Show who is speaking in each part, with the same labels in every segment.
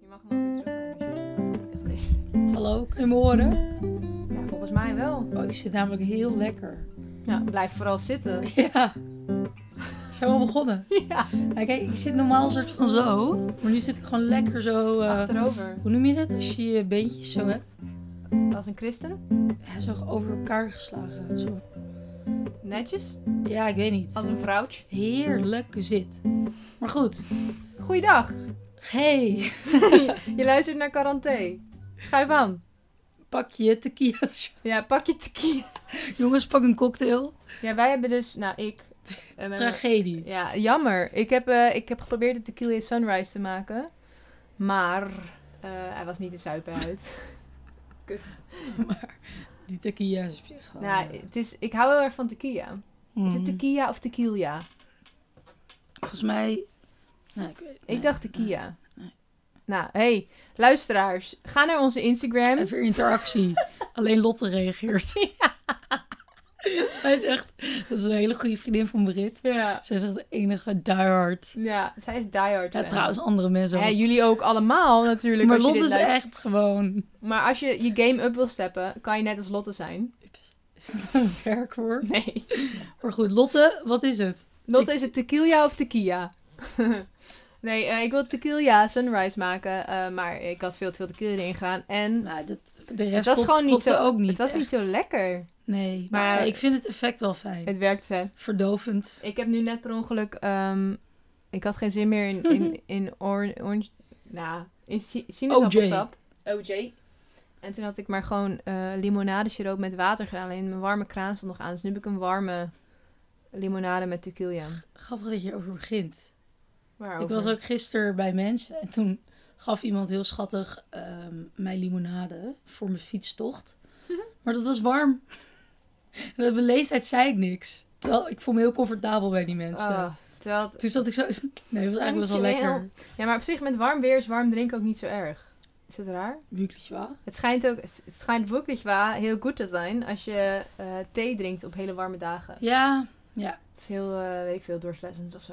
Speaker 1: Je mag hem ook weer terug nemen. als je het gaat lezen.
Speaker 2: Hallo, kun je me horen?
Speaker 1: Ja, volgens mij wel.
Speaker 2: Oh, je zit namelijk heel lekker.
Speaker 1: Ja, blijf vooral zitten.
Speaker 2: Ja. Zijn we al begonnen?
Speaker 1: Ja,
Speaker 2: Ja, kijk, ik zit normaal soort van zo. Maar nu zit ik gewoon lekker zo... eh,
Speaker 1: achterover.
Speaker 2: hoe noem je dat? Als je je beentjes zo hebt.
Speaker 1: Als een christen.
Speaker 2: Ja, zo over elkaar geslagen. Zo.
Speaker 1: Netjes.
Speaker 2: Ja, ik weet niet.
Speaker 1: Als een vrouwtje.
Speaker 2: Heerlijk zit. Maar goed.
Speaker 1: Goeiedag.
Speaker 2: Hey,
Speaker 1: Je luistert naar Quaranté. Schuif aan.
Speaker 2: pak je tequila's.
Speaker 1: Ja, pak je tequila.
Speaker 2: Jongens, pak een cocktail.
Speaker 1: Ja, wij hebben dus... Nou, ik... eh, met-
Speaker 2: Tragedie.
Speaker 1: ja, jammer. Ik heb, eh, ik heb geprobeerd de tequila sunrise te maken. Maar eh, hij was niet de zuipen uit. Kut.
Speaker 2: Maar die tequila's is op zich wel-
Speaker 1: Nou, het is, ik hou heel erg van tequila. Is het
Speaker 2: Mm.
Speaker 1: tequila of tequila?
Speaker 2: Volgens mij... Nou, ik weet
Speaker 1: Ik dacht de Kia.
Speaker 2: Nee.
Speaker 1: Nou, hey, luisteraars, ga naar onze Instagram.
Speaker 2: Even interactie. Alleen Lotte reageert. Zij is echt... Dat is een hele goede vriendin van Brit.
Speaker 1: Ja.
Speaker 2: Zij is echt de enige diehard.
Speaker 1: Ja, zij is diehard.
Speaker 2: Ja,
Speaker 1: fan.
Speaker 2: trouwens, andere mensen ook.
Speaker 1: Hè, jullie ook allemaal natuurlijk.
Speaker 2: maar
Speaker 1: als je
Speaker 2: Lotte
Speaker 1: dit
Speaker 2: is
Speaker 1: luistert.
Speaker 2: echt gewoon...
Speaker 1: Maar als je je game up wil steppen, kan je net als Lotte zijn.
Speaker 2: Is dat een werkwoord?
Speaker 1: Nee.
Speaker 2: Maar goed, Lotte, wat is het?
Speaker 1: Lotte is het tequila of tequila? nee, eh, ik wil tequila sunrise maken, eh, maar ik had veel te veel tequila erin gedaan. En
Speaker 2: Nou, dat, de
Speaker 1: het
Speaker 2: rest
Speaker 1: was
Speaker 2: klopt,
Speaker 1: gewoon niet
Speaker 2: klopte
Speaker 1: zo,
Speaker 2: ook niet.
Speaker 1: het was niet
Speaker 2: echt.
Speaker 1: zo lekker.
Speaker 2: Nee,
Speaker 1: Maar-
Speaker 2: maar, ik vind het effect wel fijn.
Speaker 1: Het werkte.
Speaker 2: Verdovend.
Speaker 1: Ik heb nu net per ongeluk. ehm, ik had geen zin meer in, in, in or- orange. Nou, in si- sinaasappelsap. OJ. En toen had ik maar gewoon eh limonadesiroop met water gedaan. Alleen mijn warme kraan stond nog aan. Dus nu heb ik een warme limonade met tequila. Ah,
Speaker 2: Grappig dat je erover begint.
Speaker 1: Waarover?
Speaker 2: Ik was ook gisteren bij mensen en toen gaf iemand heel schattig ehm mij limonade voor mijn fietstocht.
Speaker 1: Mhm.
Speaker 2: Maar dat was warm. En uit beleefdheid zei ik niks. Terwijl ik voel me heel comfortabel bij die mensen.
Speaker 1: Oh, terwijl het-
Speaker 2: Toen zat ik zo... Nee, dat was eigenlijk best wel
Speaker 1: Dankjewel.
Speaker 2: lekker.
Speaker 1: Ja, maar op zich met warm weer is warm drinken ook niet zo erg. Is het raar?
Speaker 2: Wirklich waar?
Speaker 1: Het schijnt ook, het schijnt wirklich waar heel goed te zijn als je eh, thee drinkt op hele warme dagen.
Speaker 2: Ja.
Speaker 1: Het is heel, eh, weet ik veel, doorslessens of zo.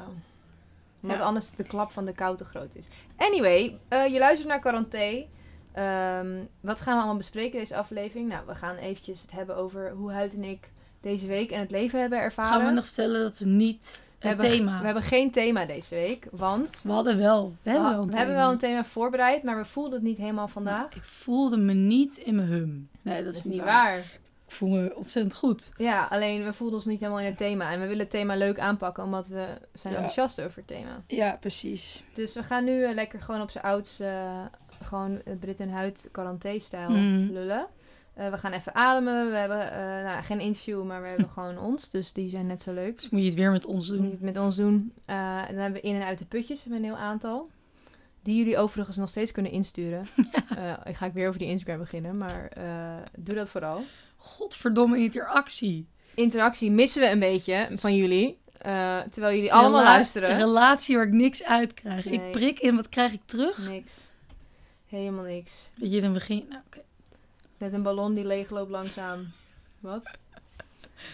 Speaker 1: Want
Speaker 2: Ja.
Speaker 1: anders de klap van de kou te groot is. Anyway, eh, je luistert naar Quaranté. Ehm, wat gaan we allemaal bespreken deze aflevering? Nou, we gaan eventjes het hebben over hoe Huid en ik deze week en het leven hebben ervaren.
Speaker 2: Gaan we nog vertellen dat we niet...
Speaker 1: We
Speaker 2: Het
Speaker 1: hebben,
Speaker 2: thema.
Speaker 1: We hebben geen thema deze week, want...
Speaker 2: We hadden wel. We hebben wel een Nou,
Speaker 1: we hebben wel een thema voorbereid, maar we voelden het niet helemaal vandaag.
Speaker 2: Ik voelde me niet in mijn hum. Nee, dat is niet waar. Ik voel me ontzettend goed.
Speaker 1: Ja, alleen we voelden ons niet helemaal in het thema. En we willen het thema leuk aanpakken, omdat we zijn
Speaker 2: Ja.
Speaker 1: enthousiast over het thema.
Speaker 2: Ja, precies.
Speaker 1: Dus we gaan nu eh, lekker gewoon op zijn ouds, eh, gewoon het Brit en Huid quaranté-stijl
Speaker 2: Mm.
Speaker 1: lullen. Eh, we gaan even ademen. We hebben eh, nou, geen interview, maar we hebben gewoon ons. Dus die zijn net zo leuk.
Speaker 2: Dus moet je het weer met ons
Speaker 1: Die
Speaker 2: doen.
Speaker 1: het met ons doen. Eh, en dan hebben we in en uit de putjes we hebben een heel aantal. Die jullie overigens nog steeds kunnen insturen. Eh, ik ga ik weer over die Instagram beginnen, maar eh, doe dat vooral.
Speaker 2: Godverdomme interactie.
Speaker 1: Interactie missen we een beetje van jullie. eh, terwijl jullie allemaal
Speaker 2: Rela-
Speaker 1: luisteren.
Speaker 2: relatie waar ik niks uit krijg.
Speaker 1: Nee.
Speaker 2: Ik prik in, wat krijg ik terug?
Speaker 1: Niks. Helemaal niks.
Speaker 2: Weet je, dan begin nou, oké.
Speaker 1: Zet een ballon die leegloopt langzaam. Wat?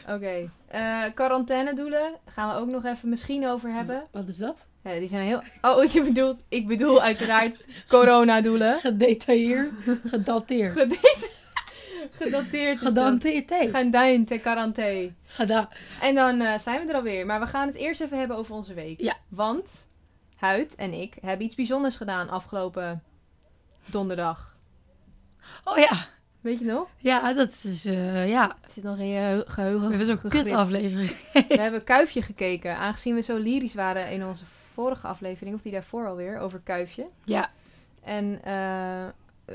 Speaker 1: Oké. Eh, quarantainedoelen gaan we ook nog even misschien over hebben.
Speaker 2: Wat is dat?
Speaker 1: Ja, die zijn heel... Oh, je bedoelt... Ik bedoel uiteraard coronadoelen.
Speaker 2: Gedetailleerd, gedateerd.
Speaker 1: Ged- Gedateerd.
Speaker 2: Gedanteerd, hé.
Speaker 1: Gedaan te quarantaine.
Speaker 2: Geda-
Speaker 1: En dan eh, zijn we er alweer. Maar we gaan het eerst even hebben over onze week.
Speaker 2: Ja.
Speaker 1: Want Huid en ik hebben iets bijzonders gedaan afgelopen donderdag.
Speaker 2: Oh ja,
Speaker 1: Weet je nog?
Speaker 2: ja, dat is, eh, ja.
Speaker 1: Zit nog in je
Speaker 2: We
Speaker 1: geheugen.
Speaker 2: hebben zo'n
Speaker 1: gegrift.
Speaker 2: kut aflevering.
Speaker 1: We hebben Kuifje gekeken. Aangezien we zo lyrisch waren in onze vorige aflevering, of die daarvoor alweer, over Kuifje.
Speaker 2: Ja,
Speaker 1: En eh,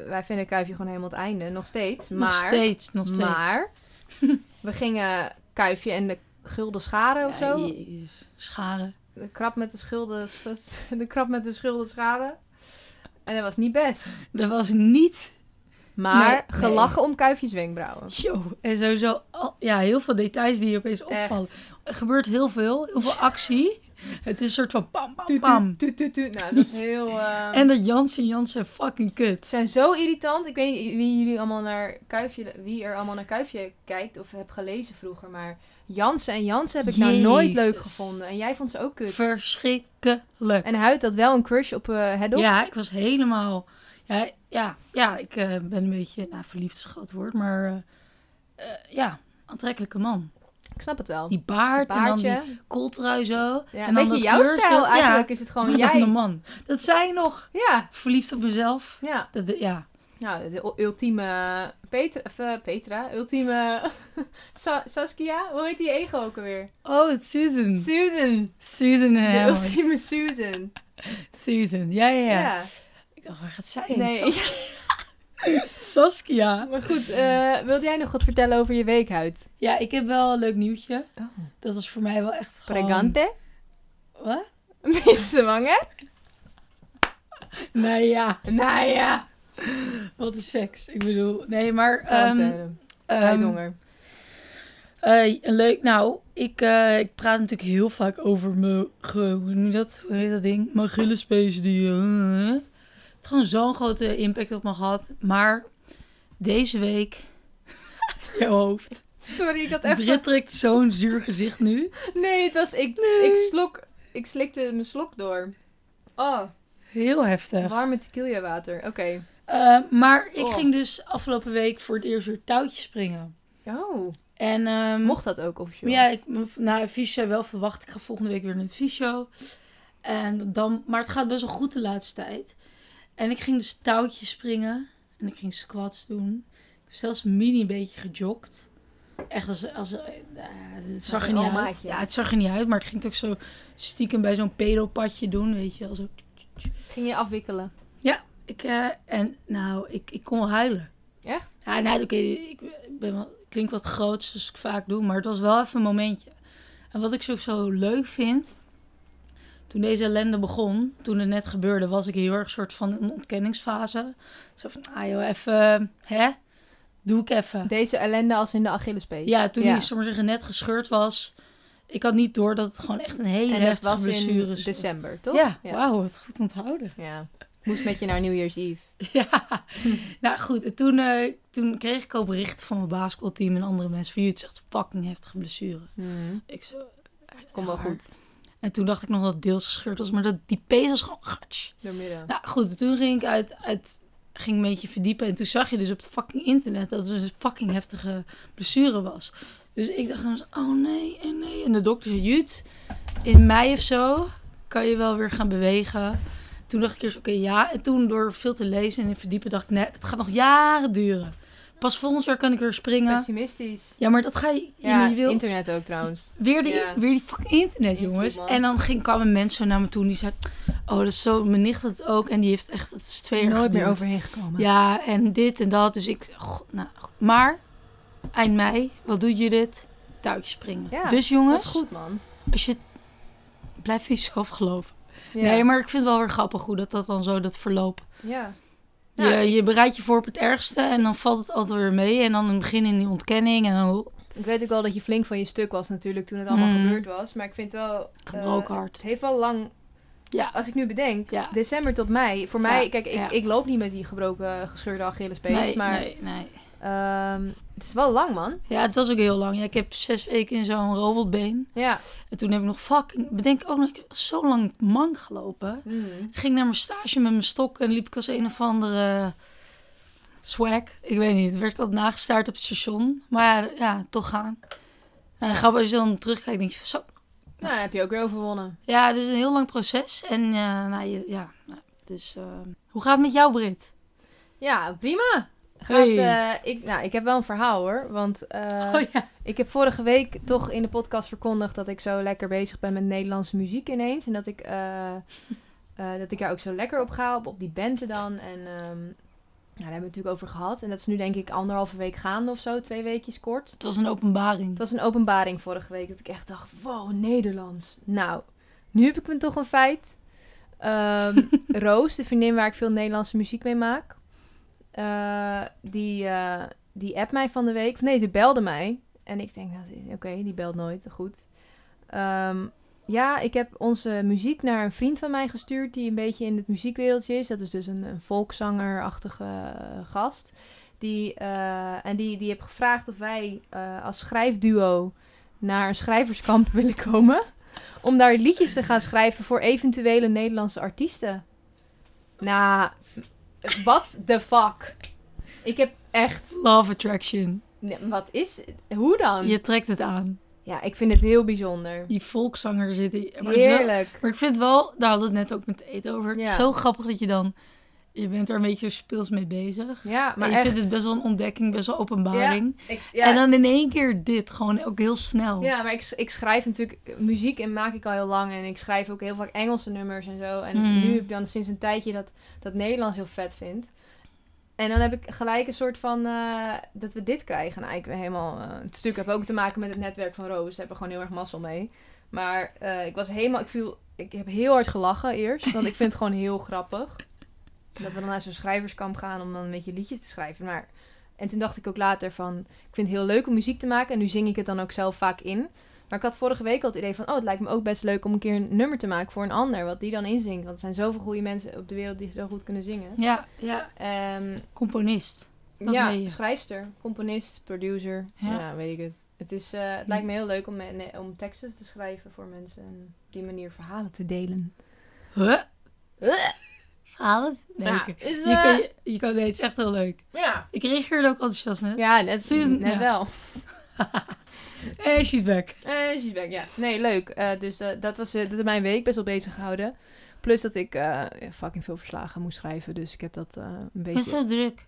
Speaker 1: wij vinden Kuifje gewoon helemaal het einde, nog steeds. Maar,
Speaker 2: nog steeds, nog steeds.
Speaker 1: Maar we gingen Kuifje en de Gulden Scharen of
Speaker 2: Ja,
Speaker 1: zo.
Speaker 2: jezus. Scharen.
Speaker 1: De krab met de schulden, de krab met de schulden scharen. En dat was niet best.
Speaker 2: Dat was niet
Speaker 1: Maar
Speaker 2: Nee, nee.
Speaker 1: gelachen om kuifjes wenkbrauwen.
Speaker 2: Yo, en sowieso, al- ja, heel veel details die je opeens
Speaker 1: Echt.
Speaker 2: opvallen. Er gebeurt heel veel, heel veel actie. Het is een soort van pam, pam,
Speaker 1: Tuut,
Speaker 2: pam.
Speaker 1: tuut, tuut, tuut, tuut. Nou, dat is heel... eh,
Speaker 2: En dat Jansen Jansen fucking kut.
Speaker 1: Ze zijn zo irritant. Ik weet niet wie jullie allemaal naar Kuifje, wie er allemaal naar Kuifje kijkt of heb gelezen vroeger, maar Jansen en Jansen heb ik nou nooit
Speaker 2: Jezus.
Speaker 1: leuk gevonden. En jij vond ze ook kut.
Speaker 2: Verschrikkelijk.
Speaker 1: en Huid had wel een crush op eh Hedop.
Speaker 2: Ja, ik was helemaal... Ja, ja, ja ik eh, ben een beetje... Nou, verliefd is een groot woord, maar... eh, eh, ja, aantrekkelijke man.
Speaker 1: Ik snap het wel.
Speaker 2: Die baard, en dan die
Speaker 1: Paardje.
Speaker 2: kooltrui zo.
Speaker 1: Ja,
Speaker 2: en
Speaker 1: een
Speaker 2: dan
Speaker 1: beetje
Speaker 2: dat
Speaker 1: jouw
Speaker 2: kleurtje.
Speaker 1: stijl
Speaker 2: Ja,
Speaker 1: eigenlijk is het gewoon
Speaker 2: maar dan de
Speaker 1: jij.
Speaker 2: man. Dat zei nog.
Speaker 1: Ja,
Speaker 2: Verliefd op mezelf.
Speaker 1: ja.
Speaker 2: Dat, de- ja.
Speaker 1: Nou, de u- ultieme Petra, of, eh, Petra ultieme Sa- Saskia, hoe heet die ego ook alweer?
Speaker 2: Oh, het is Susan.
Speaker 1: Susan.
Speaker 2: Susan
Speaker 1: De
Speaker 2: Hammond.
Speaker 1: ultieme Susan.
Speaker 2: Susan, ja, ja, ja.
Speaker 1: Ja.
Speaker 2: Ik dacht, waar gaat zij heen?
Speaker 1: Nee.
Speaker 2: Saskia. Saskia.
Speaker 1: Maar goed, eh wilde jij nog wat vertellen over je weekhuid?
Speaker 2: Ja, ik heb wel een leuk nieuwtje.
Speaker 1: Oh.
Speaker 2: Dat was voor mij wel echt gewoon...
Speaker 1: Pregante?
Speaker 2: Wat?
Speaker 1: Ben je zwanger?
Speaker 2: Nou ja,
Speaker 1: Nou ja.
Speaker 2: wat is seks? Ik bedoel, nee, maar... ehm,
Speaker 1: Um,
Speaker 2: ehm,
Speaker 1: Huidhonger.
Speaker 2: eh, een leuk, nou, ik, eh, ik praat natuurlijk heel vaak over mijn... ge- Hoe noem je dat? Hoe heet dat ding? Mijn gillespace die... eh, het heeft gewoon zo'n grote impact op me gehad. Maar deze week... Je hoofd.
Speaker 1: Sorry, ik had even...
Speaker 2: Brit trekt zo'n zuur gezicht nu.
Speaker 1: Nee, het was... Ik, ik slok... Ik slikte mijn slok door. Oh,
Speaker 2: Heel heftig.
Speaker 1: warme tequila water. Oké.
Speaker 2: Eh, maar ik
Speaker 1: Oh.
Speaker 2: ging dus afgelopen week voor het eerst weer touwtje springen.
Speaker 1: Oh.
Speaker 2: En ehm,
Speaker 1: Mocht dat ook officieel?
Speaker 2: Ja, ik, nou, een fysio wel verwacht. Ik ga volgende week weer naar het fysio. En dan, maar het gaat best wel goed de laatste tijd. En ik ging dus touwtjes springen. En ik ging squats doen. Ik heb zelfs een mini beetje gejogd. Echt als... als eh, nou, het zag
Speaker 1: een
Speaker 2: er niet
Speaker 1: omaatje.
Speaker 2: uit. Ja, het zag er niet uit. Maar ik ging het ook zo stiekem bij zo'n pedopadje doen. Weet je, wel, zo...
Speaker 1: Ging je afwikkelen?
Speaker 2: Ik, eh, en nou, ik, ik kon wel huilen.
Speaker 1: Echt?
Speaker 2: Ja, nou, oké, ik ben wel, ik klink wat groots, dus ik vaak doe, maar het was wel even een momentje. En wat ik zo, zo leuk vind, toen deze ellende begon, toen het net gebeurde, was ik heel erg soort van een ontkenningsfase. Zo van, ah joh, even, hè, doe ik even.
Speaker 1: Deze ellende als in de Achillespees.
Speaker 2: Ja, toen
Speaker 1: Ja.
Speaker 2: die soms zeggen net gescheurd was, ik had niet door dat het gewoon echt een hele
Speaker 1: En dat
Speaker 2: heftige
Speaker 1: was
Speaker 2: blessure
Speaker 1: in
Speaker 2: was.
Speaker 1: december, toch?
Speaker 2: Ja,
Speaker 1: Ja.
Speaker 2: wauw, wat goed onthouden.
Speaker 1: Ja. Moest met je naar New Year's Eve.
Speaker 2: Ja, nou goed. En toen, eh, toen kreeg ik al berichten van mijn basketbalteam en andere mensen. Van jullie, het is echt fucking heftige blessure.
Speaker 1: Mhm.
Speaker 2: Ik zo... eh,
Speaker 1: Kom wel
Speaker 2: ja.
Speaker 1: goed.
Speaker 2: En toen dacht ik nog dat het deels gescheurd was. Maar dat, die pees was gewoon... gatsch.
Speaker 1: Doormidden.
Speaker 2: Nou goed, toen ging ik uit... uit ging een beetje verdiepen. En toen zag je dus op het fucking internet dat het dus een fucking heftige blessure was. Dus ik dacht dan, oh nee, en nee. En de dokter zei, Jut, in mei of zo kan je wel weer gaan bewegen. Toen dacht ik eerst, oké, ja. En toen door veel te lezen en in verdiepen dacht ik, nee, het gaat nog jaren duren. Pas volgend jaar kan ik weer springen.
Speaker 1: Pessimistisch.
Speaker 2: Ja, maar dat ga je,
Speaker 1: Ja,
Speaker 2: je wil
Speaker 1: internet ook trouwens.
Speaker 2: Weer die,
Speaker 1: Ja.
Speaker 2: weer die fucking internet,
Speaker 1: Invloed,
Speaker 2: jongens.
Speaker 1: man.
Speaker 2: En dan ging, kwamen mensen zo naar me toe en die zeiden... Oh, dat is zo... Mijn nicht had het ook. En die heeft echt... Het is twee jaar
Speaker 1: Nooit meer
Speaker 2: geduurd.
Speaker 1: overheen gekomen.
Speaker 2: Ja, en dit en dat. Dus ik... goh, nou, goed. maar, eind mei, wat doet je dit? Touwtjes springen.
Speaker 1: Ja,
Speaker 2: dus
Speaker 1: Dat
Speaker 2: jongens,
Speaker 1: is goed, man.
Speaker 2: als je... Blijf in jezelf geloven.
Speaker 1: Ja.
Speaker 2: Nee, maar ik vind het wel weer grappig hoe dat, dat dan zo, dat verloop.
Speaker 1: Ja.
Speaker 2: Je,
Speaker 1: Nou,
Speaker 2: je bereidt je voor op het ergste en dan valt het altijd weer mee. En dan in het begin in die ontkenning en dan oh,
Speaker 1: Ik weet ook wel dat je flink van je stuk was natuurlijk toen het allemaal
Speaker 2: Mm.
Speaker 1: gebeurd was. Maar ik vind wel... eh,
Speaker 2: gebroken hart.
Speaker 1: het heeft wel lang...
Speaker 2: Ja.
Speaker 1: Als ik nu bedenk,
Speaker 2: Ja.
Speaker 1: december tot mei. Voor
Speaker 2: Ja,
Speaker 1: mij, kijk, ik,
Speaker 2: ja.
Speaker 1: ik loop niet met die gebroken, gescheurde Achillespees.
Speaker 2: nee,
Speaker 1: maar
Speaker 2: nee, nee.
Speaker 1: ehm, het is wel lang, man.
Speaker 2: Ja, het was ook heel lang. Ja, ik heb zes weken in zo'n robotbeen.
Speaker 1: Ja.
Speaker 2: En toen heb ik nog fucking... Bedenk ook nog, ik heb zo lang mank gelopen.
Speaker 1: Mm.
Speaker 2: Ik ging naar mijn stage met mijn stok en liep ik als een of andere swag. Ik weet niet, werd ik altijd nagestaard op het station. Maar ja, ja, toch gaan. En grappig als je dan terugkijkt, denk je van zo.
Speaker 1: Nou, heb je ook weer overwonnen.
Speaker 2: Ja, het is een heel lang proces. En eh, nou, je- ja, nou, dus... eh, hoe gaat het met jou, Brit?
Speaker 1: Ja, prima. Gaat, eh, ik, nou, ik heb wel een verhaal hoor. Want eh,
Speaker 2: oh ja.
Speaker 1: Ik heb vorige week toch in de podcast verkondigd dat ik zo lekker bezig ben met Nederlandse muziek ineens. En dat ik, eh, eh, dat ik daar ook zo lekker op ga, op, op die benten dan. En ehm, ja, daar hebben we het natuurlijk over gehad. En dat is nu denk ik anderhalve week gaande of zo, twee weekjes kort.
Speaker 2: Het was een openbaring.
Speaker 1: Het was een openbaring vorige week dat ik echt dacht, wow, Nederlands. Nou, nu heb ik me toch een feit. Ehm, Roos, de vriendin waar ik veel Nederlandse muziek mee maak. eh, die, eh die app mij van de week. Of nee, ze belde mij. En ik denk, nou, oké, die belt nooit. Goed. Ehm, ja, ik heb onze muziek naar een vriend van mij gestuurd die een beetje in het muziekwereldje is. Dat is dus een, een volkszangerachtige eh, gast. Die, eh, en die, die heb gevraagd of wij eh, als schrijfduo naar een schrijverskamp willen komen. Om daar liedjes te gaan schrijven voor eventuele Nederlandse artiesten. Nou, what the fuck? Ik heb echt...
Speaker 2: Love attraction.
Speaker 1: Nee, Wat is... Hoe dan?
Speaker 2: Je trekt het aan.
Speaker 1: Ja, ik vind het heel bijzonder.
Speaker 2: Die volkszanger zit in. Maar, het is wel-
Speaker 1: Heerlijk.
Speaker 2: maar ik vind wel, daar hadden we het net ook met eten over. Het is
Speaker 1: Ja.
Speaker 2: zo grappig dat je dan, je bent er een beetje speels mee bezig.
Speaker 1: Ja, maar
Speaker 2: Maar je
Speaker 1: echt.
Speaker 2: vindt het best wel een ontdekking, best wel openbaring.
Speaker 1: Ik, ja,
Speaker 2: En dan in één keer dit, gewoon ook heel snel.
Speaker 1: ja, maar ik, ik schrijf natuurlijk muziek en maak ik al heel lang. En ik schrijf ook heel vaak Engelse nummers en zo. En
Speaker 2: Mm.
Speaker 1: nu heb ik dan sinds een tijdje dat, dat Nederlands heel vet vind. En dan heb ik gelijk een soort van eh, dat we dit krijgen. Nou, ik ben helemaal. eh, het stuk heb ook te maken met het netwerk van Roos. Daar hebben we gewoon heel erg mazzel mee. Maar eh, ik was helemaal. Ik viel. Ik heb heel hard gelachen eerst. Want ik vind het gewoon heel grappig. Dat we dan naar zo'n schrijverskamp gaan om dan een beetje liedjes te schrijven. Maar. En toen dacht ik ook later van. Ik vind het heel leuk om muziek te maken. En nu zing ik het dan ook zelf vaak in. Maar ik had vorige week al het idee van. Oh, het lijkt me ook best leuk om een keer een nummer te maken voor een ander. Wat die dan inzingt. Want er zijn zoveel goede mensen op de wereld die zo goed kunnen zingen.
Speaker 2: ja, ja.
Speaker 1: Ehm,
Speaker 2: componist. Dat
Speaker 1: ja,
Speaker 2: meen je.
Speaker 1: schrijfster, componist, producer.
Speaker 2: Ja.
Speaker 1: Ja, weet ik het. Het, is, eh, het lijkt me heel leuk om, me- nee, om teksten te schrijven voor mensen en op die manier verhalen te delen.
Speaker 2: Huh? Verhaal het? Nee,
Speaker 1: Ja,
Speaker 2: ik-
Speaker 1: is,
Speaker 2: je
Speaker 1: eh,
Speaker 2: kan, je, je kan, nee, het is echt heel leuk.
Speaker 1: ja.
Speaker 2: Ik reageerde ook enthousiast net.
Speaker 1: Ja, net,
Speaker 2: Susan,
Speaker 1: net
Speaker 2: ja.
Speaker 1: wel.
Speaker 2: Eh, she's back.
Speaker 1: Eh, she's back, ja. Nee, leuk. Eh, dus eh, dat was eh, dat heeft mijn week best wel bezig gehouden. Plus dat ik eh, fucking veel verslagen moest schrijven, dus ik heb dat eh, een
Speaker 2: Ik ben
Speaker 1: beetje...
Speaker 2: zo druk.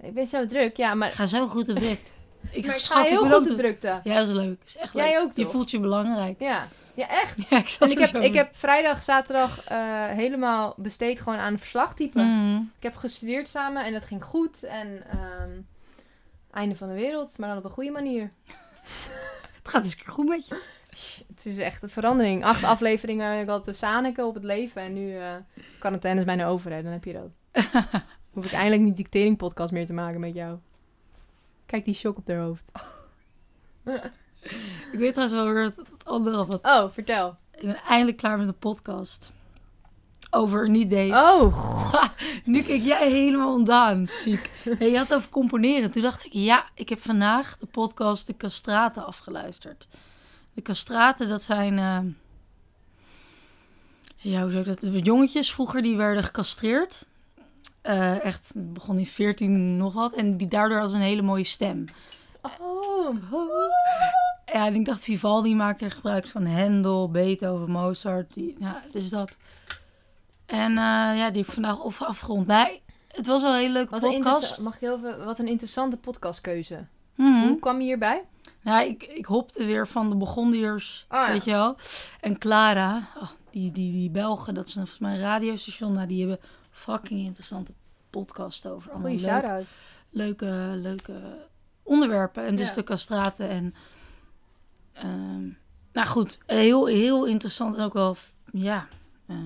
Speaker 1: Ik ben zo druk, ja,
Speaker 2: Ik
Speaker 1: maar,
Speaker 2: ga zo goed op druk. Ik
Speaker 1: maar ik
Speaker 2: schat,
Speaker 1: ga heel
Speaker 2: ben ook
Speaker 1: goed op
Speaker 2: druk.
Speaker 1: drukte.
Speaker 2: Ja, dat is leuk. Dat is echt leuk.
Speaker 1: Jij ook,
Speaker 2: Je
Speaker 1: toch?
Speaker 2: voelt je belangrijk.
Speaker 1: Ja, ja echt.
Speaker 2: Ja, ik zat
Speaker 1: En ik
Speaker 2: er
Speaker 1: heb,
Speaker 2: zo
Speaker 1: ik
Speaker 2: in.
Speaker 1: heb vrijdag, zaterdag eh, helemaal besteed gewoon aan verslagtypen.
Speaker 2: Mm.
Speaker 1: Ik heb gestudeerd samen en dat ging goed. En ehm, einde van de wereld, maar dan op een goede manier.
Speaker 2: Het gaat eens een keer goed met je.
Speaker 1: Het is echt een verandering. Acht afleveringen en ik had de Saneke op het leven. En nu eh quarantaine is bijna over, hè. Dan heb je dat. Hoef ik eindelijk niet die teringpodcast meer te maken met jou. Kijk die shock op haar hoofd.
Speaker 2: Ik weet trouwens wel weer dat het andere wat.
Speaker 1: Oh, vertel.
Speaker 2: Ik ben eindelijk klaar met de podcast. Over niet deze.
Speaker 1: Oh, goh.
Speaker 2: Nu keek jij helemaal ontdaan, ziek. Nee, je had het over componeren. Toen dacht ik, ja, ik heb vandaag de podcast De Castraten afgeluisterd. De Castraten, dat zijn... eh, ja, hoe zou ik dat... de Jongetjes vroeger, die werden gecastreerd. Eh, echt, het begon in 14 nog wat. En die daardoor als een hele mooie stem.
Speaker 1: oh.
Speaker 2: Ja, en ik dacht, Vivaldi maakt er gebruik van Hendel, Beethoven, Mozart. Die, ja, dus dat. En eh, ja, die heb ik vandaag of afgerond. Nee, het was wel een hele leuke
Speaker 1: Wat een,
Speaker 2: podcast.
Speaker 1: interessa- mag ik heel even, wat een interessante podcastkeuze.
Speaker 2: Mhm.
Speaker 1: Hoe kwam je hierbij?
Speaker 2: Nou, ik, ik hopte weer van de Begondiërs,
Speaker 1: Ah, ja.
Speaker 2: weet je wel. En Clara, oh, die, die, die Belgen, dat is volgens mij een radiostation. Nou, die hebben fucking interessante podcasts over. allemaal
Speaker 1: Goeie
Speaker 2: leuke-
Speaker 1: shout-out.
Speaker 2: leuke, leuke onderwerpen. En dus
Speaker 1: Ja.
Speaker 2: de castraten en... ehm, nou goed, heel, heel interessant en ook wel f- ja, eh,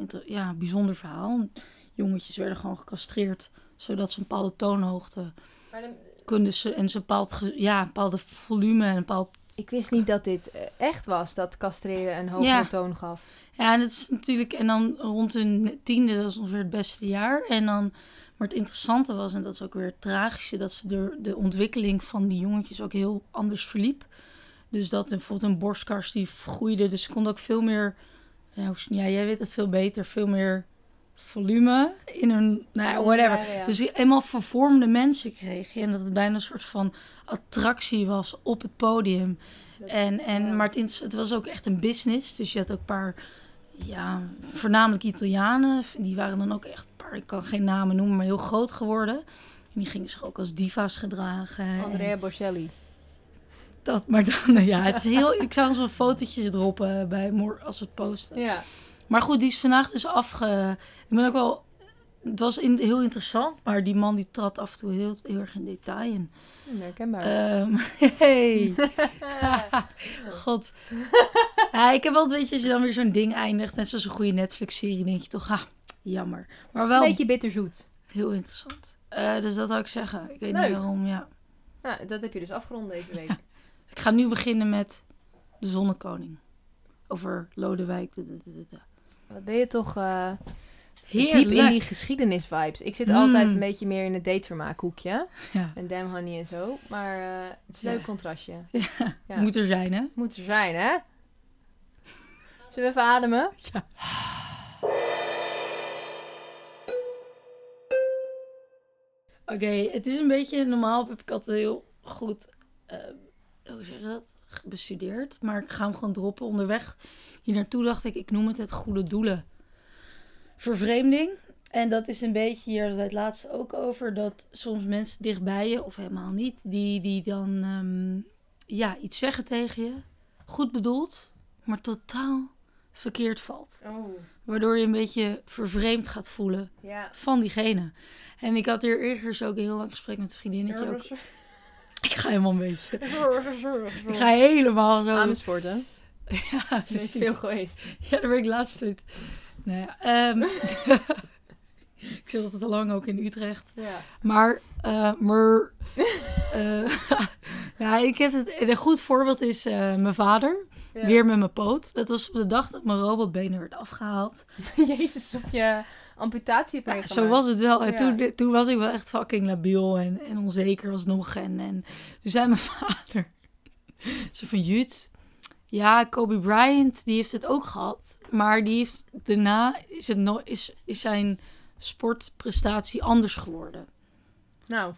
Speaker 2: inter- ja, bijzonder verhaal. Jongetjes werden gewoon gecastreerd, zodat ze een bepaalde toonhoogte
Speaker 1: Maar dan-
Speaker 2: kunnen ze, en ze een bepaald, ge- ja, een bepaalde volume en een bepaald...
Speaker 1: Ik wist niet dat dit eh, echt was, dat castreren een hogere
Speaker 2: Ja.
Speaker 1: toon gaf.
Speaker 2: Ja, en dat is natuurlijk, en dan rond hun tiende, dat is ongeveer het beste jaar. En dan, maar het interessante was, en dat is ook weer het tragische, dat ze de, de ontwikkeling van die jongetjes ook heel anders verliep. Dus dat een- bijvoorbeeld een borstkast die groeide, dus ze konden ook veel meer, ja, hoe- ja, jij weet het veel beter, veel meer volume in hun, nou ja, whatever.
Speaker 1: Ja, ja.
Speaker 2: Dus je eenmaal vervormde mensen kreeg je. En dat het bijna een soort van attractie was op het podium.
Speaker 1: Dat-
Speaker 2: En, en,
Speaker 1: ja.
Speaker 2: Maar het, ins- het was ook echt een business. Dus je had ook een paar, ja, voornamelijk Italianen. Die waren dan ook echt, een paar, ik kan geen namen noemen, maar heel groot geworden. En die gingen zich ook als diva's gedragen. En
Speaker 1: Andrea Bocelli.
Speaker 2: dat, maar dan, nou ja, het is heel, ik zou eens wel fotootjes droppen bij, mor- als we het posten.
Speaker 1: Ja.
Speaker 2: Maar goed, die is vandaag dus afge... Ik ben ook wel... Het was in, heel interessant, maar die man die trad af en toe heel, heel erg in detail in.
Speaker 1: Herkenbaar.
Speaker 2: Ehm, hey. God. Ja, ik heb wel een beetje, als je dan weer zo'n ding eindigt, net zoals een goede Netflix-serie, denk je toch, ah, jammer. Maar wel,
Speaker 1: Een beetje bitterzoet.
Speaker 2: Heel interessant. Eh, dus dat zou ik zeggen. Ik weet
Speaker 1: Leuk.
Speaker 2: niet waarom, ja.
Speaker 1: Nou, dat heb je dus afgerond deze week.
Speaker 2: Ik ga nu beginnen met de Zonnekoning. Over Lodewijk. Heerlijk.
Speaker 1: Wat ben je toch eh, diep in die geschiedenis vibes. Ik zit altijd
Speaker 2: Mm.
Speaker 1: een beetje meer in het datevermaak hoekje.
Speaker 2: Ja.
Speaker 1: En damn honey en zo. Maar eh, het is een
Speaker 2: Ja.
Speaker 1: leuk contrastje. Ja.
Speaker 2: Moet er zijn, hè?
Speaker 1: Moet er zijn, hè? Zullen we even ademen?
Speaker 2: Ja. Oké, het is een beetje... Normaal heb ik altijd heel goed... eh, hoe zeg je dat? Bestudeerd. Maar ik ga hem gewoon droppen. Onderweg hier naartoe dacht ik... Ik noem het het goede doelen. Vervreemding. En dat is een beetje... Hier hadden we het laatst ook over. Dat soms mensen dichtbij je... Of helemaal niet. Die, die dan... ehm, ja, iets zeggen tegen je. Goed bedoeld. Maar totaal verkeerd valt.
Speaker 1: Oh,
Speaker 2: Waardoor je een beetje vervreemd gaat voelen
Speaker 1: ja.
Speaker 2: van diegene. En ik had hier eergisteren ook een heel lang gesprek met een vriendinnetje. Ook. Ik ga helemaal een beetje. Ik ga helemaal zo.
Speaker 1: Amersfoort, hè?
Speaker 2: Ja,
Speaker 1: Er is
Speaker 2: precies.
Speaker 1: veel geweest.
Speaker 2: Ja, daar ben ik laatst uit. Nou ja, ehm, ik zit altijd al lang ook in Utrecht.
Speaker 1: Ja.
Speaker 2: Maar, eh maar eh, nou, ik heb het, een goed voorbeeld is eh, mijn vader. Weer met mijn poot. Dat was op de dag dat mijn robotbenen werd afgehaald.
Speaker 1: Jezus, of je amputatie hebt
Speaker 2: Ja,
Speaker 1: meegemaakt.
Speaker 2: zo was het wel. En
Speaker 1: Ja.
Speaker 2: toen, toen was ik wel echt fucking labiel en, en onzeker alsnog. En, en toen zei mijn vader, zo van, Jut, ja, Kobe Bryant, die heeft het ook gehad. Maar die heeft, daarna is, het no is, is zijn sportprestatie anders geworden.
Speaker 1: Nou,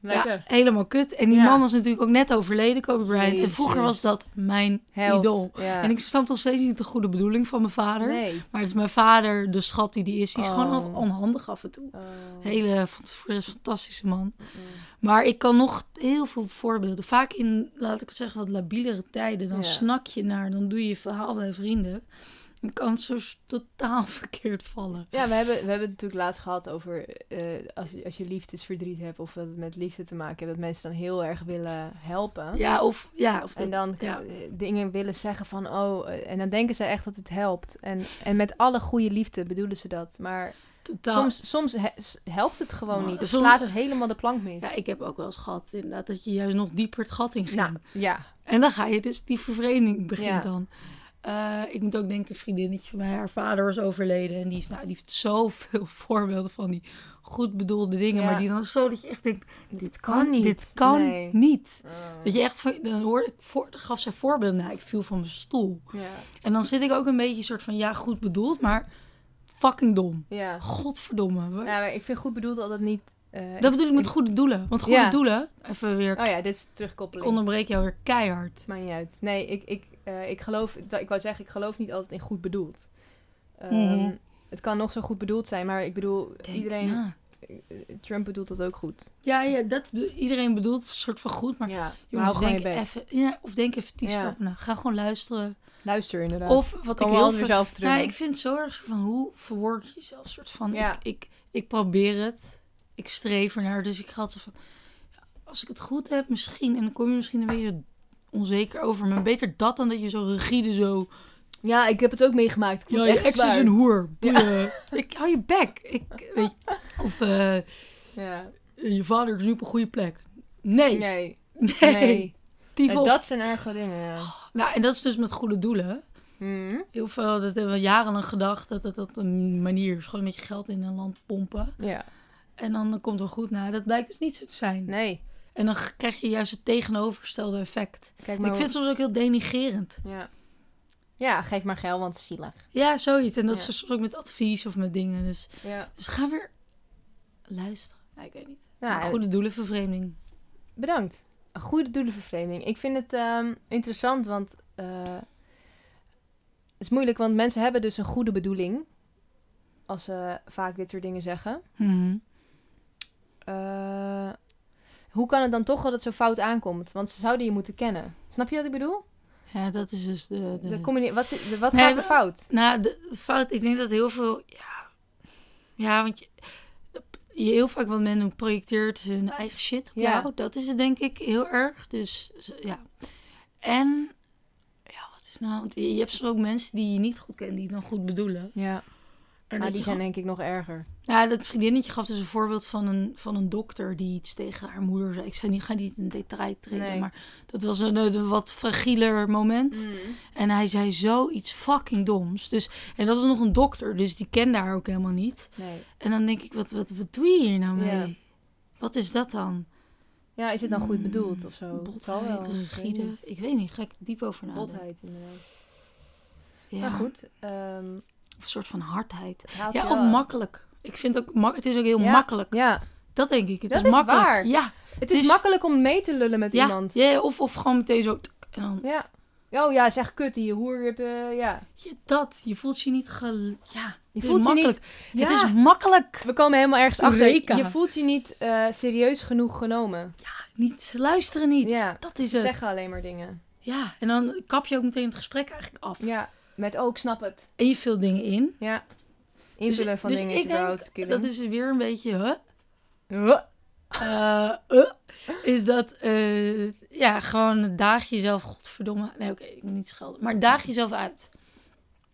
Speaker 1: lekker.
Speaker 2: Ja, helemaal kut. En die
Speaker 1: Ja.
Speaker 2: man was natuurlijk ook net overleden, Kobe Bryant. En vroeger
Speaker 1: Jezus.
Speaker 2: was dat mijn
Speaker 1: Held.
Speaker 2: idool.
Speaker 1: Ja.
Speaker 2: En ik snap nog steeds niet de goede bedoeling van mijn vader.
Speaker 1: Nee.
Speaker 2: Maar het is mijn vader, de schat die die is, die is
Speaker 1: Oh.
Speaker 2: gewoon af- onhandig af en toe.
Speaker 1: Oh.
Speaker 2: Hele van- voor de rest fantastische man. Maar ik kan nog heel veel voorbeelden. Vaak in, laat ik het zeggen, wat labielere tijden. Dan
Speaker 1: Ja.
Speaker 2: snak je naar, dan doe je je verhaal bij vrienden. Dan kan het zo s- totaal verkeerd vallen.
Speaker 1: Ja, we hebben, we hebben het natuurlijk laatst gehad over eh, als, je- als je liefdesverdriet hebt of dat het met liefde te maken heeft, dat mensen dan heel erg willen helpen.
Speaker 2: Ja, of... Ja, of dat-
Speaker 1: En dan
Speaker 2: ja.
Speaker 1: eh, dingen willen zeggen van, oh, eh, en dan denken ze echt dat het helpt. En, en met alle goede liefde bedoelen ze dat. Maar
Speaker 2: totaal.
Speaker 1: soms, soms he- s- helpt het gewoon
Speaker 2: Maar
Speaker 1: niet. Dan
Speaker 2: soms-
Speaker 1: slaat het helemaal de plank mis.
Speaker 2: Ja, ik heb ook wel eens gehad inderdaad dat je juist nog dieper het gat in ging.
Speaker 1: nou, ja.
Speaker 2: En dan ga je dus, die vervreemding begint
Speaker 1: Ja.
Speaker 2: dan. Eh, ik moet ook denken, een vriendinnetje van mij, haar vader was overleden. En die, is, nou, die heeft zoveel voorbeelden van die goed bedoelde dingen.
Speaker 1: Ja.
Speaker 2: Maar die dan zo dat je echt denkt,
Speaker 1: Dit
Speaker 2: Dit kan
Speaker 1: Nee.
Speaker 2: niet.
Speaker 1: Oh.
Speaker 2: Dat je echt, van- dan hoorde ik, voor, dan gaf zij voorbeelden. Nou, ik viel van mijn stoel.
Speaker 1: Ja.
Speaker 2: En dan zit ik ook een beetje soort van, ja, goed bedoeld, maar fucking dom.
Speaker 1: Ja.
Speaker 2: Godverdomme. we-
Speaker 1: ja, maar ik vind goed bedoeld altijd niet... eh,
Speaker 2: Dat bedoel ik met goede doelen. Want goede
Speaker 1: Ja.
Speaker 2: doelen, even weer,
Speaker 1: Oh ja, dit is
Speaker 2: ik
Speaker 1: terugkoppeling.
Speaker 2: onderbreek jou weer keihard.
Speaker 1: Maakt niet uit. Nee, ik, ik, eh, ik geloof, dat- ik wou zeggen, ik geloof niet altijd in goed bedoeld. Ehm,
Speaker 2: Mhm.
Speaker 1: Het kan nog zo goed bedoeld zijn, maar ik bedoel,
Speaker 2: Denk
Speaker 1: iedereen,
Speaker 2: na.
Speaker 1: eh, Trump bedoelt dat ook goed.
Speaker 2: Ja, ja dat, bedo- iedereen bedoelt een soort van goed, maar
Speaker 1: ja, maar hou
Speaker 2: jongens,
Speaker 1: gewoon je
Speaker 2: denk
Speaker 1: bek.
Speaker 2: even, ja, of denk even tien
Speaker 1: Ja.
Speaker 2: stappen na. Ga gewoon luisteren.
Speaker 1: Luister inderdaad.
Speaker 2: Of wat
Speaker 1: kan
Speaker 2: ik
Speaker 1: wel
Speaker 2: heel
Speaker 1: altijd
Speaker 2: veel
Speaker 1: weer zelf terug.
Speaker 2: Ja, ik vind het zo erg van hoe verwork je jezelf. soort van,
Speaker 1: Ja.
Speaker 2: ik, ik, ik probeer het, ik streef ernaar. Dus ik ga altijd van, ja, als ik het goed heb misschien, en dan kom je misschien een beetje onzeker over. Maar beter dat dan dat je zo rigide zo,
Speaker 1: Ja, ik heb het ook meegemaakt. Ik vond
Speaker 2: ja,
Speaker 1: het
Speaker 2: je
Speaker 1: echt
Speaker 2: ex is
Speaker 1: zwaar.
Speaker 2: een hoer. Boeien. Ik hou je bek. Ik, weet je, of eh,
Speaker 1: Ja.
Speaker 2: je vader is nu op een goede plek. Nee, nee,
Speaker 1: Nee,
Speaker 2: nee.
Speaker 1: nee.
Speaker 2: die
Speaker 1: En
Speaker 2: vol-
Speaker 1: dat zijn erge dingen, ja.
Speaker 2: Nou, en dat is dus met goede doelen.
Speaker 1: Mhm.
Speaker 2: Heel veel, dat hebben we jarenlang gedacht, dat dat, dat een manier is. Gewoon een beetje geld in een land pompen.
Speaker 1: Ja,
Speaker 2: En dan komt het wel goed na. Dat blijkt dus niet zo te zijn.
Speaker 1: nee.
Speaker 2: En dan g- krijg je juist het tegenovergestelde effect.
Speaker 1: Kijk
Speaker 2: En
Speaker 1: maar
Speaker 2: ik vind het soms ook heel denigerend.
Speaker 1: hoe- ja. ja, geef maar geld, want het is zielig.
Speaker 2: Ja, zoiets. En dat
Speaker 1: Ja.
Speaker 2: is soms ook met advies of met dingen. Dus,
Speaker 1: Ja.
Speaker 2: dus ga weer luisteren. Ja, ik weet niet.
Speaker 1: Nou,
Speaker 2: Maar goede doelen, vervreemding.
Speaker 1: Bedankt. Een Goede doelenvervreemding. Ik vind het ehm, interessant, want eh, het is moeilijk, want mensen hebben dus een goede bedoeling als ze vaak dit soort dingen zeggen. Mhm. Eh, hoe kan het dan toch dat het zo fout aankomt? Want ze zouden je moeten kennen. Snap je wat ik bedoel?
Speaker 2: Ja, dat is dus de... de...
Speaker 1: De communi- wat zit- de- wat
Speaker 2: Nee,
Speaker 1: gaat er
Speaker 2: maar-
Speaker 1: fout?
Speaker 2: Nou, de, de fout, ik denk dat heel veel. Ja, ja want je, je heel vaak wat men doet, projecteert hun eigen shit op
Speaker 1: Ja.
Speaker 2: jou. Dat is het denk ik heel erg. Dus ze- ja. En ja, wat is nou? Want je, je hebt soms ook mensen die je niet goed kent, die het dan goed bedoelen.
Speaker 1: Ja.
Speaker 2: En
Speaker 1: maar
Speaker 2: dat
Speaker 1: die
Speaker 2: je
Speaker 1: zijn denk ik nog erger.
Speaker 2: Ja, dat vriendinnetje gaf dus een voorbeeld van een, van een dokter die iets tegen haar moeder zei. Ik zei niet, ga niet in detail treden,
Speaker 1: Nee.
Speaker 2: maar dat was een, eh, wat fragieler moment. En hij zei zoiets fucking doms. Dus, en dat is nog een dokter, dus die kende haar ook helemaal niet.
Speaker 1: Nee.
Speaker 2: En dan denk ik, wat, wat, wat doe je hier nou mee?
Speaker 1: Ja.
Speaker 2: Wat is dat dan?
Speaker 1: Ja, is het dan goed
Speaker 2: Mm,
Speaker 1: bedoeld of zo? Het Oh, zal wel,
Speaker 2: Botheid,
Speaker 1: ik weet
Speaker 2: rigide.
Speaker 1: niet.
Speaker 2: Ik weet niet, ga ik diep over nadenken.
Speaker 1: Botheid, inderdaad.
Speaker 2: Ja.
Speaker 1: Maar goed, ehm,
Speaker 2: Of een soort van hardheid.
Speaker 1: het haalt je
Speaker 2: Ja, of
Speaker 1: wel-
Speaker 2: makkelijk. Ik vind ook, mak- het is ook heel
Speaker 1: Ja.
Speaker 2: makkelijk.
Speaker 1: Ja,
Speaker 2: Dat denk ik. Het
Speaker 1: Dat
Speaker 2: is,
Speaker 1: is
Speaker 2: makkelijk.
Speaker 1: waar.
Speaker 2: Ja.
Speaker 1: het is
Speaker 2: Dus-
Speaker 1: makkelijk om mee te lullen met
Speaker 2: ja,
Speaker 1: iemand.
Speaker 2: Ja, of, of gewoon meteen zo. tuk, En dan,
Speaker 1: Ja. Oh ja, zeg kut, die hoerrip, eh, ja.
Speaker 2: je, dat, je voelt je niet gel... Ja,
Speaker 1: Je
Speaker 2: het is
Speaker 1: voelt je niet-
Speaker 2: makkelijk.
Speaker 1: ja.
Speaker 2: Het is makkelijk.
Speaker 1: We komen helemaal ergens achter.
Speaker 2: Eureka.
Speaker 1: Je voelt je niet eh, serieus genoeg genomen.
Speaker 2: Niet, ze luisteren niet.
Speaker 1: Ja,
Speaker 2: Dat is
Speaker 1: Ze
Speaker 2: het.
Speaker 1: zeggen alleen maar dingen.
Speaker 2: Ja, en dan kap je ook meteen het gesprek eigenlijk af.
Speaker 1: Ja, met oh, ik snap het.
Speaker 2: En je vult dingen in.
Speaker 1: Ja. Invullen
Speaker 2: Dus-
Speaker 1: van
Speaker 2: dus
Speaker 1: dingen
Speaker 2: ik
Speaker 1: is überhaupt
Speaker 2: denk,
Speaker 1: killing.
Speaker 2: Dat is weer een beetje... Huh?
Speaker 1: Huh?
Speaker 2: Eh, eh, is dat... eh, ja, gewoon daag jezelf... Godverdomme. Nee, oké, ik moet niet schelden. Maar daag jezelf uit.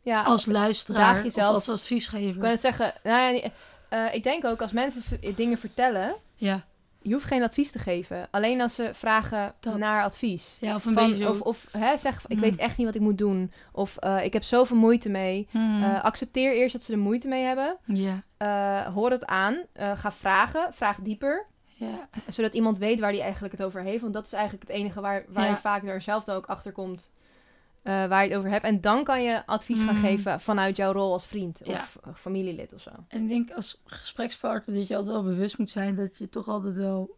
Speaker 1: Ja,
Speaker 2: Als luisteraar
Speaker 1: daag jezelf-
Speaker 2: of als adviesgever.
Speaker 1: ik wil het zeggen. Nou ja, eh, ik denk ook als mensen v- dingen vertellen,
Speaker 2: Ja.
Speaker 1: je hoeft geen advies te geven. Alleen als ze vragen
Speaker 2: Dat.
Speaker 1: naar advies.
Speaker 2: ja, of een
Speaker 1: Van-
Speaker 2: beetje zo...
Speaker 1: Of, of hè, zeg, ik
Speaker 2: Hmm.
Speaker 1: weet echt niet wat ik moet doen. Of eh, ik heb zoveel moeite mee.
Speaker 2: Hmm,
Speaker 1: Eh, accepteer eerst dat ze er moeite mee hebben.
Speaker 2: ja,
Speaker 1: Eh, hoor het aan. Eh, ga vragen. Vraag dieper.
Speaker 2: ja.
Speaker 1: Zodat iemand weet waar die eigenlijk het over heeft. Want dat is eigenlijk het enige waar, waar
Speaker 2: Ja.
Speaker 1: je vaak er zelf dan ook achter komt. eh, waar je het over hebt. En dan kan je advies gaan
Speaker 2: Mm.
Speaker 1: geven vanuit jouw rol als vriend
Speaker 2: Ja.
Speaker 1: of eh, familielid of zo.
Speaker 2: En ik denk als gesprekspartner dat je altijd wel bewust moet zijn dat je toch altijd wel.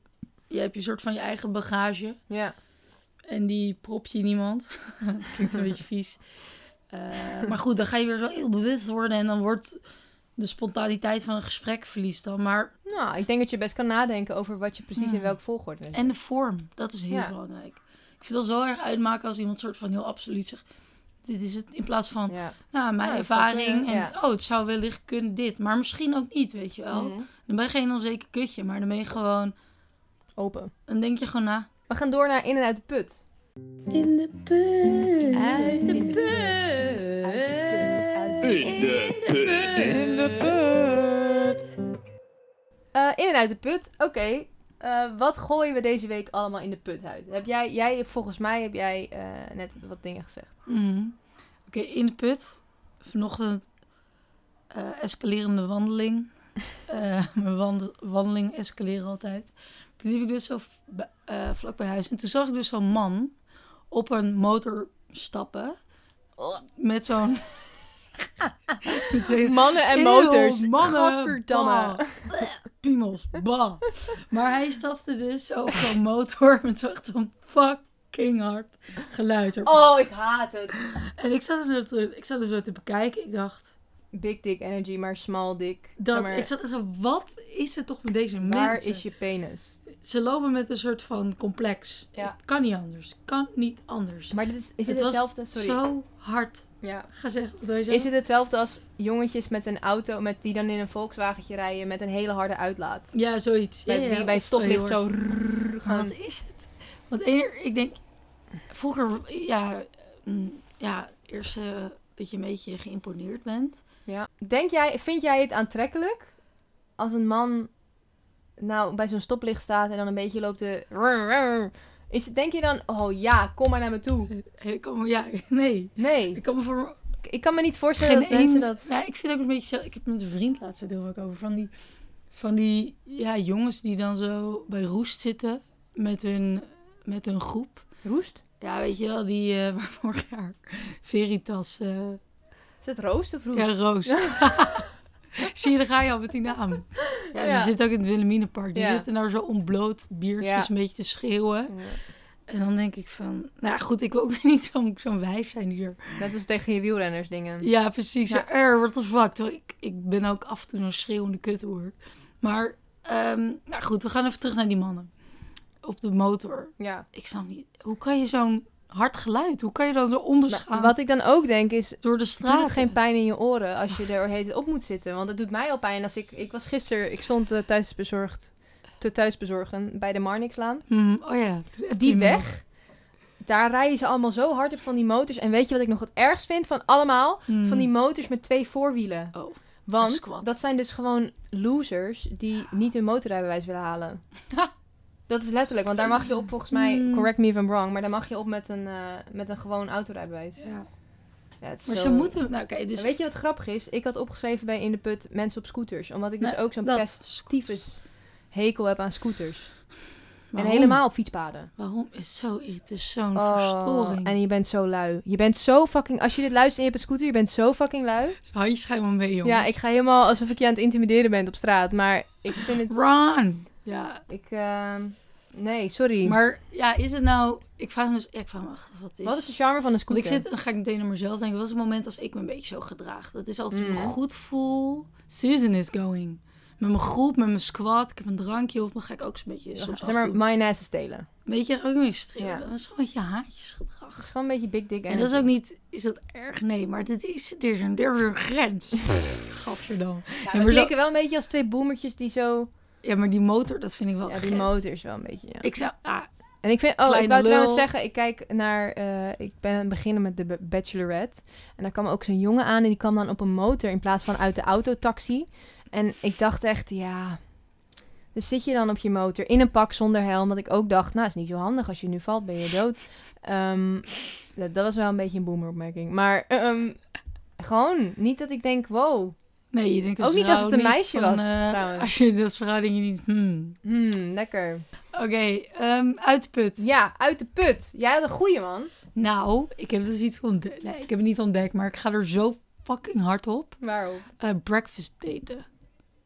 Speaker 2: Je hebt je soort van je eigen bagage
Speaker 1: Ja.
Speaker 2: en die prop je in iemand. dat klinkt een beetje vies. Eh, maar goed, dan ga je weer zo heel bewust worden en dan wordt de spontaniteit van een gesprek verliest dan. Maar,
Speaker 1: Nou, ik denk dat je best kan nadenken over wat je precies in
Speaker 2: Hmm.
Speaker 1: welk volgorde.
Speaker 2: en de vorm, dat is heel
Speaker 1: Ja.
Speaker 2: belangrijk. Ik vind het al zo erg uitmaken als iemand soort van heel absoluut zegt: Dit is het. In plaats van,
Speaker 1: Ja.
Speaker 2: nou, mijn
Speaker 1: Ja, dat zou
Speaker 2: ervaring. En,
Speaker 1: kunnen,
Speaker 2: oh, het zou wellicht kunnen dit, maar misschien ook niet, weet je wel.
Speaker 1: Mhm.
Speaker 2: Dan ben je geen onzeker kutje, maar dan ben je gewoon.
Speaker 1: Open.
Speaker 2: Dan denk je gewoon na.
Speaker 1: We gaan door naar in en uit de put.
Speaker 2: In de put.
Speaker 1: Uit de put.
Speaker 3: In de put. In de
Speaker 1: Eh, in en uit de put. Oké. Eh, wat gooien we deze week allemaal in de put uit? Heb jij, jij volgens mij heb jij eh, net wat dingen gezegd. Mm.
Speaker 2: Oké, in de put. Vanochtend eh, escalerende wandeling. Eh, mijn wand- wandeling escaleren altijd. Toen liep ik dus zo v- b- eh, vlak bij huis. En toen zag ik dus zo'n man op een motor stappen. Met zo'n... Meteen-
Speaker 1: Mannen en
Speaker 2: Eeuw,
Speaker 1: motors.
Speaker 2: mannen,
Speaker 1: Gadverdamme.
Speaker 2: bah. Piemels, bah. Maar hij stapte dus zo op zo'n motor met zo'n echt zo'n fucking hard geluid. erop.
Speaker 1: Oh, ik haat het.
Speaker 2: En ik zat, hem zo te, ik zat hem zo te bekijken. Ik dacht,
Speaker 1: Big dick energy, maar small dick.
Speaker 2: dat,
Speaker 1: Zeg maar,
Speaker 2: ik zat er zo, wat is er toch met deze
Speaker 1: waar
Speaker 2: mensen?
Speaker 1: is je penis?
Speaker 2: Ze lopen met een soort van complex.
Speaker 1: Ja.
Speaker 2: Het kan niet anders. Het kan niet anders.
Speaker 1: Maar dit is, is dit
Speaker 2: Het was
Speaker 1: hetzelfde? Sorry.
Speaker 2: Zo hard.
Speaker 1: Ja.
Speaker 2: Ga zeggen, wat wil je
Speaker 1: Is
Speaker 2: zeggen?
Speaker 1: dit hetzelfde als jongetjes met een auto met die dan in een Volkswagentje rijden met een hele harde uitlaat?
Speaker 2: Ja, zoiets. Ja,
Speaker 1: Bij,
Speaker 2: ja,
Speaker 1: die bij het
Speaker 2: of heel
Speaker 1: stoplicht
Speaker 2: hard.
Speaker 1: zo rrrr
Speaker 2: Maar
Speaker 1: gaan.
Speaker 2: wat is het? Want ener, ik denk, vroeger, ja, mm, ja eerst eh, dat je een beetje geïmponeerd bent.
Speaker 1: Ja. Denk jij, vind jij het aantrekkelijk als een man nou bij zo'n stoplicht staat en dan een beetje loopt te... Is het, denk je dan, oh ja, kom maar naar me toe.
Speaker 2: Eh, Ik kan me, ja, nee.
Speaker 1: Nee,
Speaker 2: Ik kan me voor
Speaker 1: ik- ik kan me niet voorstellen
Speaker 2: geen
Speaker 1: dat mensen
Speaker 2: één...
Speaker 1: dat...
Speaker 2: Nou, ik vind ook een beetje zo, ik heb met een vriend laatst daar heel vaak over, van die, van die ja, jongens die dan zo bij roest zitten met hun, met hun groep.
Speaker 1: Roest?
Speaker 2: Ja, weet je wel, die eh, waar vorig jaar Veritas, eh
Speaker 1: Is het roost of roest?
Speaker 2: ja, roost. Zie je, daar ga je al met die naam. Ja,
Speaker 1: Ja.
Speaker 2: ze zitten ook in het Wilhelminapark. Die
Speaker 1: Ja.
Speaker 2: zitten daar zo ontbloot biertjes
Speaker 1: Ja.
Speaker 2: een beetje te schreeuwen. En dan denk ik van... Nou ja, goed, ik wil ook weer niet zo'n zo'n wijf zijn hier.
Speaker 1: Net als tegen je wielrenners dingen.
Speaker 2: Ja, precies.
Speaker 1: Ja.
Speaker 2: Ja. Er, what the fuck. Terwijl Ik, ik ben ook af en toe een schreeuwende kut hoor. Maar, ehm, nou goed, we gaan even terug naar die mannen. Op de motor.
Speaker 1: Ja.
Speaker 2: Ik snap niet... Hoe kan je zo'n hard geluid... Hoe kan je dan zo onbeschaamd
Speaker 1: Maar Nou, wat ik dan ook denk is,
Speaker 2: door de
Speaker 1: Het doet
Speaker 2: straat...
Speaker 1: het geen pijn in je oren als je er heet op moet zitten. Want het doet mij al pijn als ik... Ik was gisteren... Ik stond eh, thuisbezorgd... Te thuisbezorgen bij de Marnixlaan.
Speaker 2: Hmm, oh ja. toen appte
Speaker 1: Die
Speaker 2: je me nog.
Speaker 1: weg. Daar rijden ze allemaal zo hard op van die motors. En weet je wat ik nog het ergst vind van allemaal?
Speaker 2: Hmm.
Speaker 1: Van die motors met twee voorwielen.
Speaker 2: Oh.
Speaker 1: Want
Speaker 2: Squat.
Speaker 1: dat zijn dus gewoon losers die niet hun motorrijbewijs willen halen. dat is letterlijk, want daar mag je op volgens mij,
Speaker 2: Hmm.
Speaker 1: correct me if I'm wrong, maar daar mag je op met een, eh, met een gewoon autorijbewijs.
Speaker 2: Ja.
Speaker 1: Ja, het is
Speaker 2: Maar
Speaker 1: zo-
Speaker 2: ze moeten... Nou, oké,
Speaker 1: En
Speaker 2: dus...
Speaker 1: Weet je wat grappig is? Ik had opgeschreven bij In de Put mensen op scooters. Omdat ik dus
Speaker 2: Nee,
Speaker 1: ook zo'n
Speaker 2: dat-
Speaker 1: pestivus hekel heb aan scooters.
Speaker 2: Waarom?
Speaker 1: En helemaal op fietspaden.
Speaker 2: Waarom is zo... Het is zo'n
Speaker 1: Oh,
Speaker 2: verstoring.
Speaker 1: en je bent zo lui. Je bent zo fucking... Als je dit luistert en je hebt een scooter, je bent zo fucking lui.
Speaker 2: Handjes ga je maar mee, jongens.
Speaker 1: Ja, ik ga helemaal alsof ik je aan het intimideren ben op straat. Maar ik vind het...
Speaker 2: Run! Ja.
Speaker 1: Ik, ehm, nee, sorry.
Speaker 2: Maar ja, is het nou... Ik vraag me dus... Ja, ik vraag me af wat het is.
Speaker 1: Wat is de charme van een
Speaker 2: Want
Speaker 1: scooter?
Speaker 2: ik zit, dan ga ik meteen naar mezelf denken. Wat is het moment als ik me een beetje zo gedraag? Dat is altijd als ik me
Speaker 1: Mm.
Speaker 2: goed voel. Susan is going. Met mijn groep, met mijn squad. Ik heb een drankje op. Dan ga ik ook een beetje soms
Speaker 1: Zeg maar,
Speaker 2: afdoen.
Speaker 1: mayonaise stelen.
Speaker 2: Een beetje ook een beetje streven.
Speaker 1: Ja.
Speaker 2: Dat is gewoon een beetje
Speaker 1: Het is
Speaker 2: haatjesgedrag.
Speaker 1: gewoon een beetje big dick
Speaker 2: En dat is
Speaker 1: energy.
Speaker 2: ook niet... Is dat erg? Nee, maar dit is, er is een, er is een grens. Gadverdamme.
Speaker 1: Ja,
Speaker 2: maar
Speaker 1: we
Speaker 2: zo-
Speaker 1: klinken wel een beetje als twee boomertjes die zo...
Speaker 2: Ja, maar die motor, dat vind ik wel
Speaker 1: Ja, die
Speaker 2: grens.
Speaker 1: motor is wel een beetje, ja.
Speaker 2: Ik zou... Ah,
Speaker 1: En ik vind, oh,
Speaker 2: Kleine
Speaker 1: ik wou
Speaker 2: lul.
Speaker 1: trouwens zeggen, ik kijk naar, eh, ik ben aan het beginnen met de B- Bachelorette. En daar kwam ook zo'n jongen aan en die kwam dan op een motor in plaats van uit de autotaxi. En ik dacht echt, ja, dus zit je dan op je motor in een pak zonder helm. Dat ik ook dacht, nou, is niet zo handig, als je nu valt ben je dood. Ehm, dat, dat was wel een beetje een boomeropmerking. Maar ehm, gewoon, niet dat ik denk, wow,
Speaker 2: nee, je denkt
Speaker 1: Ook
Speaker 2: als
Speaker 1: niet als
Speaker 2: vrouw
Speaker 1: het een meisje
Speaker 2: van,
Speaker 1: was,
Speaker 2: eh,
Speaker 1: trouwens.
Speaker 2: Als je dat verhaal denk je niet... hmm.
Speaker 1: hmm, lekker.
Speaker 2: Oké, ehm, uitput.
Speaker 1: Ja, uit de put. Jij had een goeie, man.
Speaker 2: Nou, ik heb dus iets ontdekt. Nee, ik heb het niet ontdekt, maar ik ga er zo fucking hard op.
Speaker 1: Waarom?
Speaker 2: Eh, breakfast daten.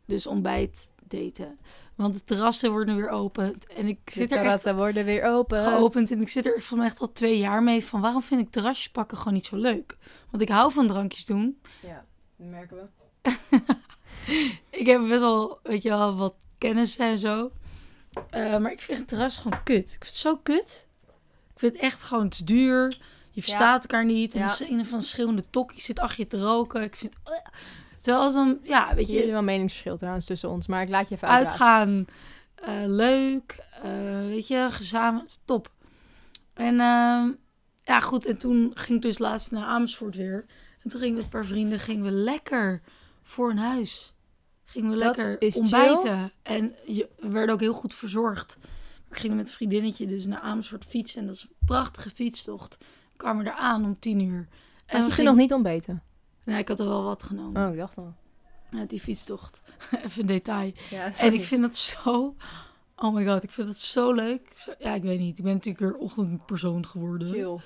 Speaker 2: Dus ontbijt daten. Want de terrassen worden weer open. En ik
Speaker 1: De
Speaker 2: zit er echt
Speaker 1: terrassen worden weer open.
Speaker 2: geopend. En ik zit er volgens mij echt al twee jaar mee van... waarom vind ik terrasjes pakken gewoon niet zo leuk? Want ik hou van drankjes doen.
Speaker 1: Ja, dat merken we.
Speaker 2: Ik heb best wel, weet je wel, wat kennis en zo. Eh, maar ik vind het terras gewoon kut. Ik vind het zo kut. Ik vind het echt gewoon, het is duur. Je verstaat elkaar niet. En
Speaker 1: Ja.
Speaker 2: dan is een van schillende tokkie zit achter je te roken. Ik vind... eh. Terwijl als dan, ja, weet
Speaker 1: Weet je, er is
Speaker 2: je,
Speaker 1: wel een meningsverschil trouwens tussen ons, maar ik laat je even uitgaan.
Speaker 2: uitgaan. eh, leuk. eh, weet je, gezamenlijk. Top. En ehm, ja, goed. En toen ging ik dus laatst naar Amersfoort weer. En toen gingen we met een paar vrienden gingen we lekker voor een huis. Gingen we
Speaker 1: Dat
Speaker 2: lekker
Speaker 1: is chill.
Speaker 2: ontbijten. En je, we werden ook heel goed verzorgd. We gingen met een vriendinnetje dus naar Amersfoort fietsen. En dat is een prachtige fietstocht. We kwamen er aan om tien uur.
Speaker 1: En
Speaker 2: En
Speaker 1: je ging
Speaker 2: we
Speaker 1: nog
Speaker 2: gingen...
Speaker 1: niet ontbeten.
Speaker 2: Nee, ik had er wel wat genomen.
Speaker 1: Oh, ik dacht al.
Speaker 2: Ja, die fietstocht. Even een detail.
Speaker 1: Ja,
Speaker 2: En ik vind dat zo... Oh my god, ik vind dat zo leuk. Zo- Ja, ik weet niet. Ik ben natuurlijk weer ochtendpersoon geworden.
Speaker 1: chill.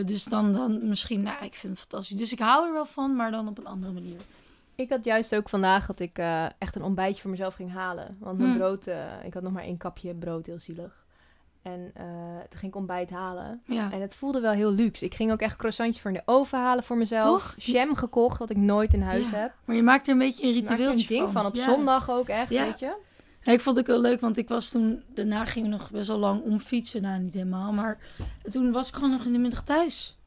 Speaker 2: Eh, dus dan, dan misschien... Nou, ik vind het fantastisch. Dus ik hou er wel van, maar dan op een andere manier.
Speaker 1: Ik had juist ook vandaag dat ik eh, echt een ontbijtje voor mezelf ging halen. Want mijn
Speaker 2: Hmm.
Speaker 1: brood, eh, ik had nog maar één kapje brood, heel zielig. En eh, toen ging ik ontbijt halen.
Speaker 2: Ja.
Speaker 1: En het voelde wel heel luxe. Ik ging ook echt croissantjes voor in de oven halen voor mezelf.
Speaker 2: Toch?
Speaker 1: Jam gekocht, wat ik nooit in huis
Speaker 2: Ja.
Speaker 1: heb.
Speaker 2: Maar je maakt er een beetje een
Speaker 1: Ik maak er
Speaker 2: ritueeltje
Speaker 1: een ding van. Op
Speaker 2: Ja.
Speaker 1: zondag ook echt,
Speaker 2: Ja.
Speaker 1: weet je.
Speaker 2: Ja, ik vond het ook wel leuk, want ik was toen... Daarna gingen we nog best wel lang omfietsen. Nou, niet helemaal, maar... Toen was ik gewoon nog in de middag thuis.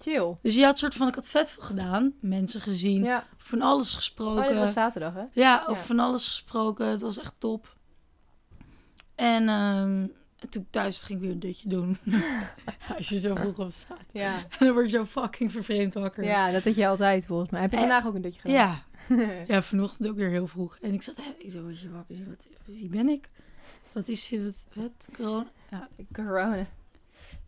Speaker 1: Chill.
Speaker 2: Dus je had soort van... Ik had vet veel gedaan. Mensen gezien.
Speaker 1: Ja.
Speaker 2: Van alles
Speaker 1: Oh,
Speaker 2: gesproken.
Speaker 1: dit was zaterdag, hè?
Speaker 2: Ja, over
Speaker 1: Ja.
Speaker 2: van alles gesproken. Het was echt top. En ehm, en toen ik thuis ging ik weer een dutje doen. Als je zo vroeg opstaat.
Speaker 1: Ja.
Speaker 2: En dan word je zo fucking vervreemd wakker.
Speaker 1: Ja, dat deed je altijd volgens mij. Heb je
Speaker 2: Eh,
Speaker 1: vandaag ook een dutje gedaan?
Speaker 2: Ja. Ja, vanochtend ook weer heel vroeg. En ik zat, hè, ik zo, word je wakker? Ik zeg, Wat, wie ben ik? Wat is dit? Wat, wat? Corona?
Speaker 1: Corona.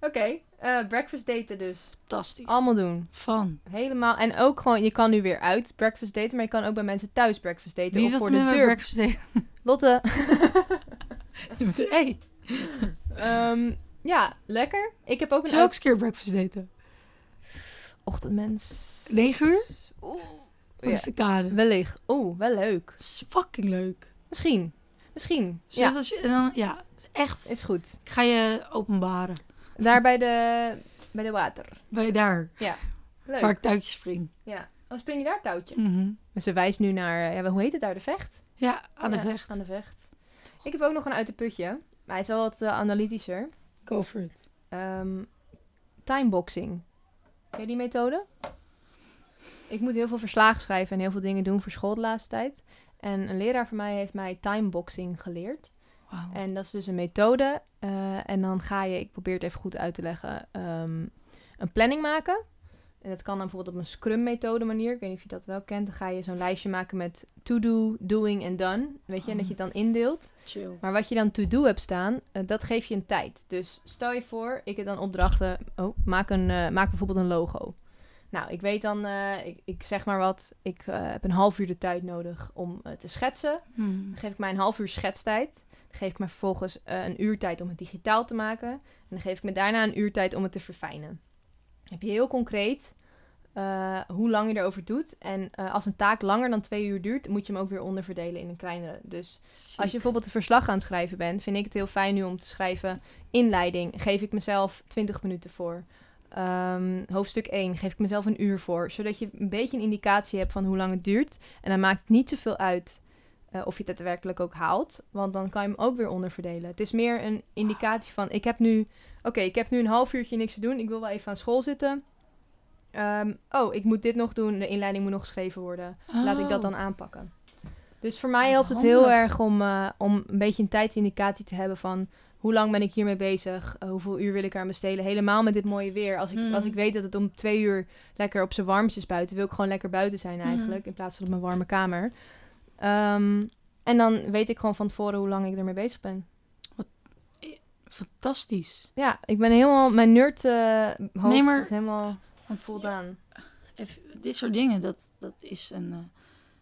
Speaker 1: Oké, eh, breakfast daten dus.
Speaker 2: Fantastisch.
Speaker 1: Allemaal doen.
Speaker 2: van.
Speaker 1: Helemaal. En ook gewoon, je kan nu weer uit breakfast daten, maar je kan ook bij mensen thuis breakfast daten.
Speaker 2: Wie
Speaker 1: of
Speaker 2: wil
Speaker 1: voor
Speaker 2: er
Speaker 1: de
Speaker 2: met
Speaker 1: deur.
Speaker 2: mijn breakfast eten?
Speaker 1: Lotte.
Speaker 2: hey,
Speaker 1: Ehm, ja, lekker. Ik heb ook een
Speaker 2: zou ook eens een keer breakfast daten?
Speaker 1: uit- ochtendmens.
Speaker 2: 9 uur?
Speaker 1: Oeh.
Speaker 2: Dat is de kade.
Speaker 1: Wellicht. Oeh, wel leuk.
Speaker 2: Dat is fucking leuk.
Speaker 1: Misschien. Misschien.
Speaker 2: Zodat
Speaker 1: Ja,
Speaker 2: als je, en dan, ja, echt.
Speaker 1: is goed.
Speaker 2: Ik ga je openbaren.
Speaker 1: Daar bij de, bij de water.
Speaker 2: Ben je daar?
Speaker 1: Leuk.
Speaker 2: Waar ik touwtje spring.
Speaker 1: Ja. Oh, spring je daar touwtje?
Speaker 2: Mhm.
Speaker 1: Ze wijst nu naar, ja, hoe heet het daar? De vecht?
Speaker 2: Ja, aan
Speaker 1: Ja,
Speaker 2: de vecht.
Speaker 1: Aan de vecht. Ik heb ook nog een uit de putje. Maar hij is wel wat eh, analytischer.
Speaker 2: Go for it.
Speaker 1: Ehm, timeboxing. Ken je die methode? Ik moet heel veel verslagen schrijven en heel veel dingen doen voor school de laatste tijd. En een leraar van mij heeft mij timeboxing geleerd.
Speaker 2: Wauw.
Speaker 1: En dat is dus een methode. eh, en dan ga je, ik probeer het even goed uit te leggen, ehm, een planning maken. En dat kan dan bijvoorbeeld op een Scrum-methode manier. Ik weet niet of je dat wel kent. Dan ga je zo'n lijstje maken met to-do, doing en done. Weet je, en dat
Speaker 2: Oh.
Speaker 1: je het dan indeelt.
Speaker 2: Chill.
Speaker 1: Maar wat je dan to-do hebt staan, eh, dat geef je een tijd. Dus stel je voor, ik heb dan opdrachten. Oh, maak, een, eh, maak bijvoorbeeld een logo. Nou, ik weet dan, eh, ik, ik zeg maar wat, ik eh, heb een half uur de tijd nodig om eh, te schetsen.
Speaker 2: Hmm.
Speaker 1: Dan geef ik mij een half uur schetstijd. Dan geef ik me vervolgens eh, een uur tijd om het digitaal te maken. En dan geef ik me daarna een uur tijd om het te verfijnen. Dan heb je heel concreet eh, hoe lang je erover doet. En eh, als een taak langer dan twee uur duurt, moet je hem ook weer onderverdelen in een kleinere. Dus
Speaker 2: Sick.
Speaker 1: als je bijvoorbeeld een verslag aan het schrijven bent, vind ik het heel fijn nu om te schrijven. Inleiding geef ik mezelf 20 minuten voor. Ehm, hoofdstuk 1 geef ik mezelf een uur voor. Zodat je een beetje een indicatie hebt van hoe lang het duurt. En dan maakt het niet zoveel uit eh, of je het daadwerkelijk ook haalt. Want dan kan je hem ook weer onderverdelen. Het is meer een indicatie van: ik heb nu, oké, ik heb nu een half uurtje niks te doen. Ik wil wel even aan school zitten. Ehm, oh, ik moet dit nog doen. De inleiding moet nog geschreven worden laat ik dat dan aanpakken. Dus voor mij
Speaker 2: Oh. Dat is
Speaker 1: helpt het heel
Speaker 2: handig.
Speaker 1: erg om, eh, om een beetje een tijdindicatie te hebben van hoe lang ben ik hiermee bezig, eh, hoeveel uur wil ik eraan besteden. Helemaal met dit mooie weer. Als ik,
Speaker 2: Hmm.
Speaker 1: als ik weet dat het om twee uur lekker op zijn warmst is buiten, wil ik gewoon lekker buiten zijn
Speaker 2: Hmm.
Speaker 1: eigenlijk, in plaats van op mijn warme kamer. Ehm, en dan weet ik gewoon van tevoren hoe lang ik ermee bezig ben.
Speaker 2: Oh, Fantastisch.
Speaker 1: Ja, ik ben helemaal, mijn nerd eh hoofd
Speaker 2: Nee, maar-
Speaker 1: is helemaal
Speaker 2: Want
Speaker 1: voldaan.
Speaker 2: eff- dit soort dingen, dat, dat is een eh,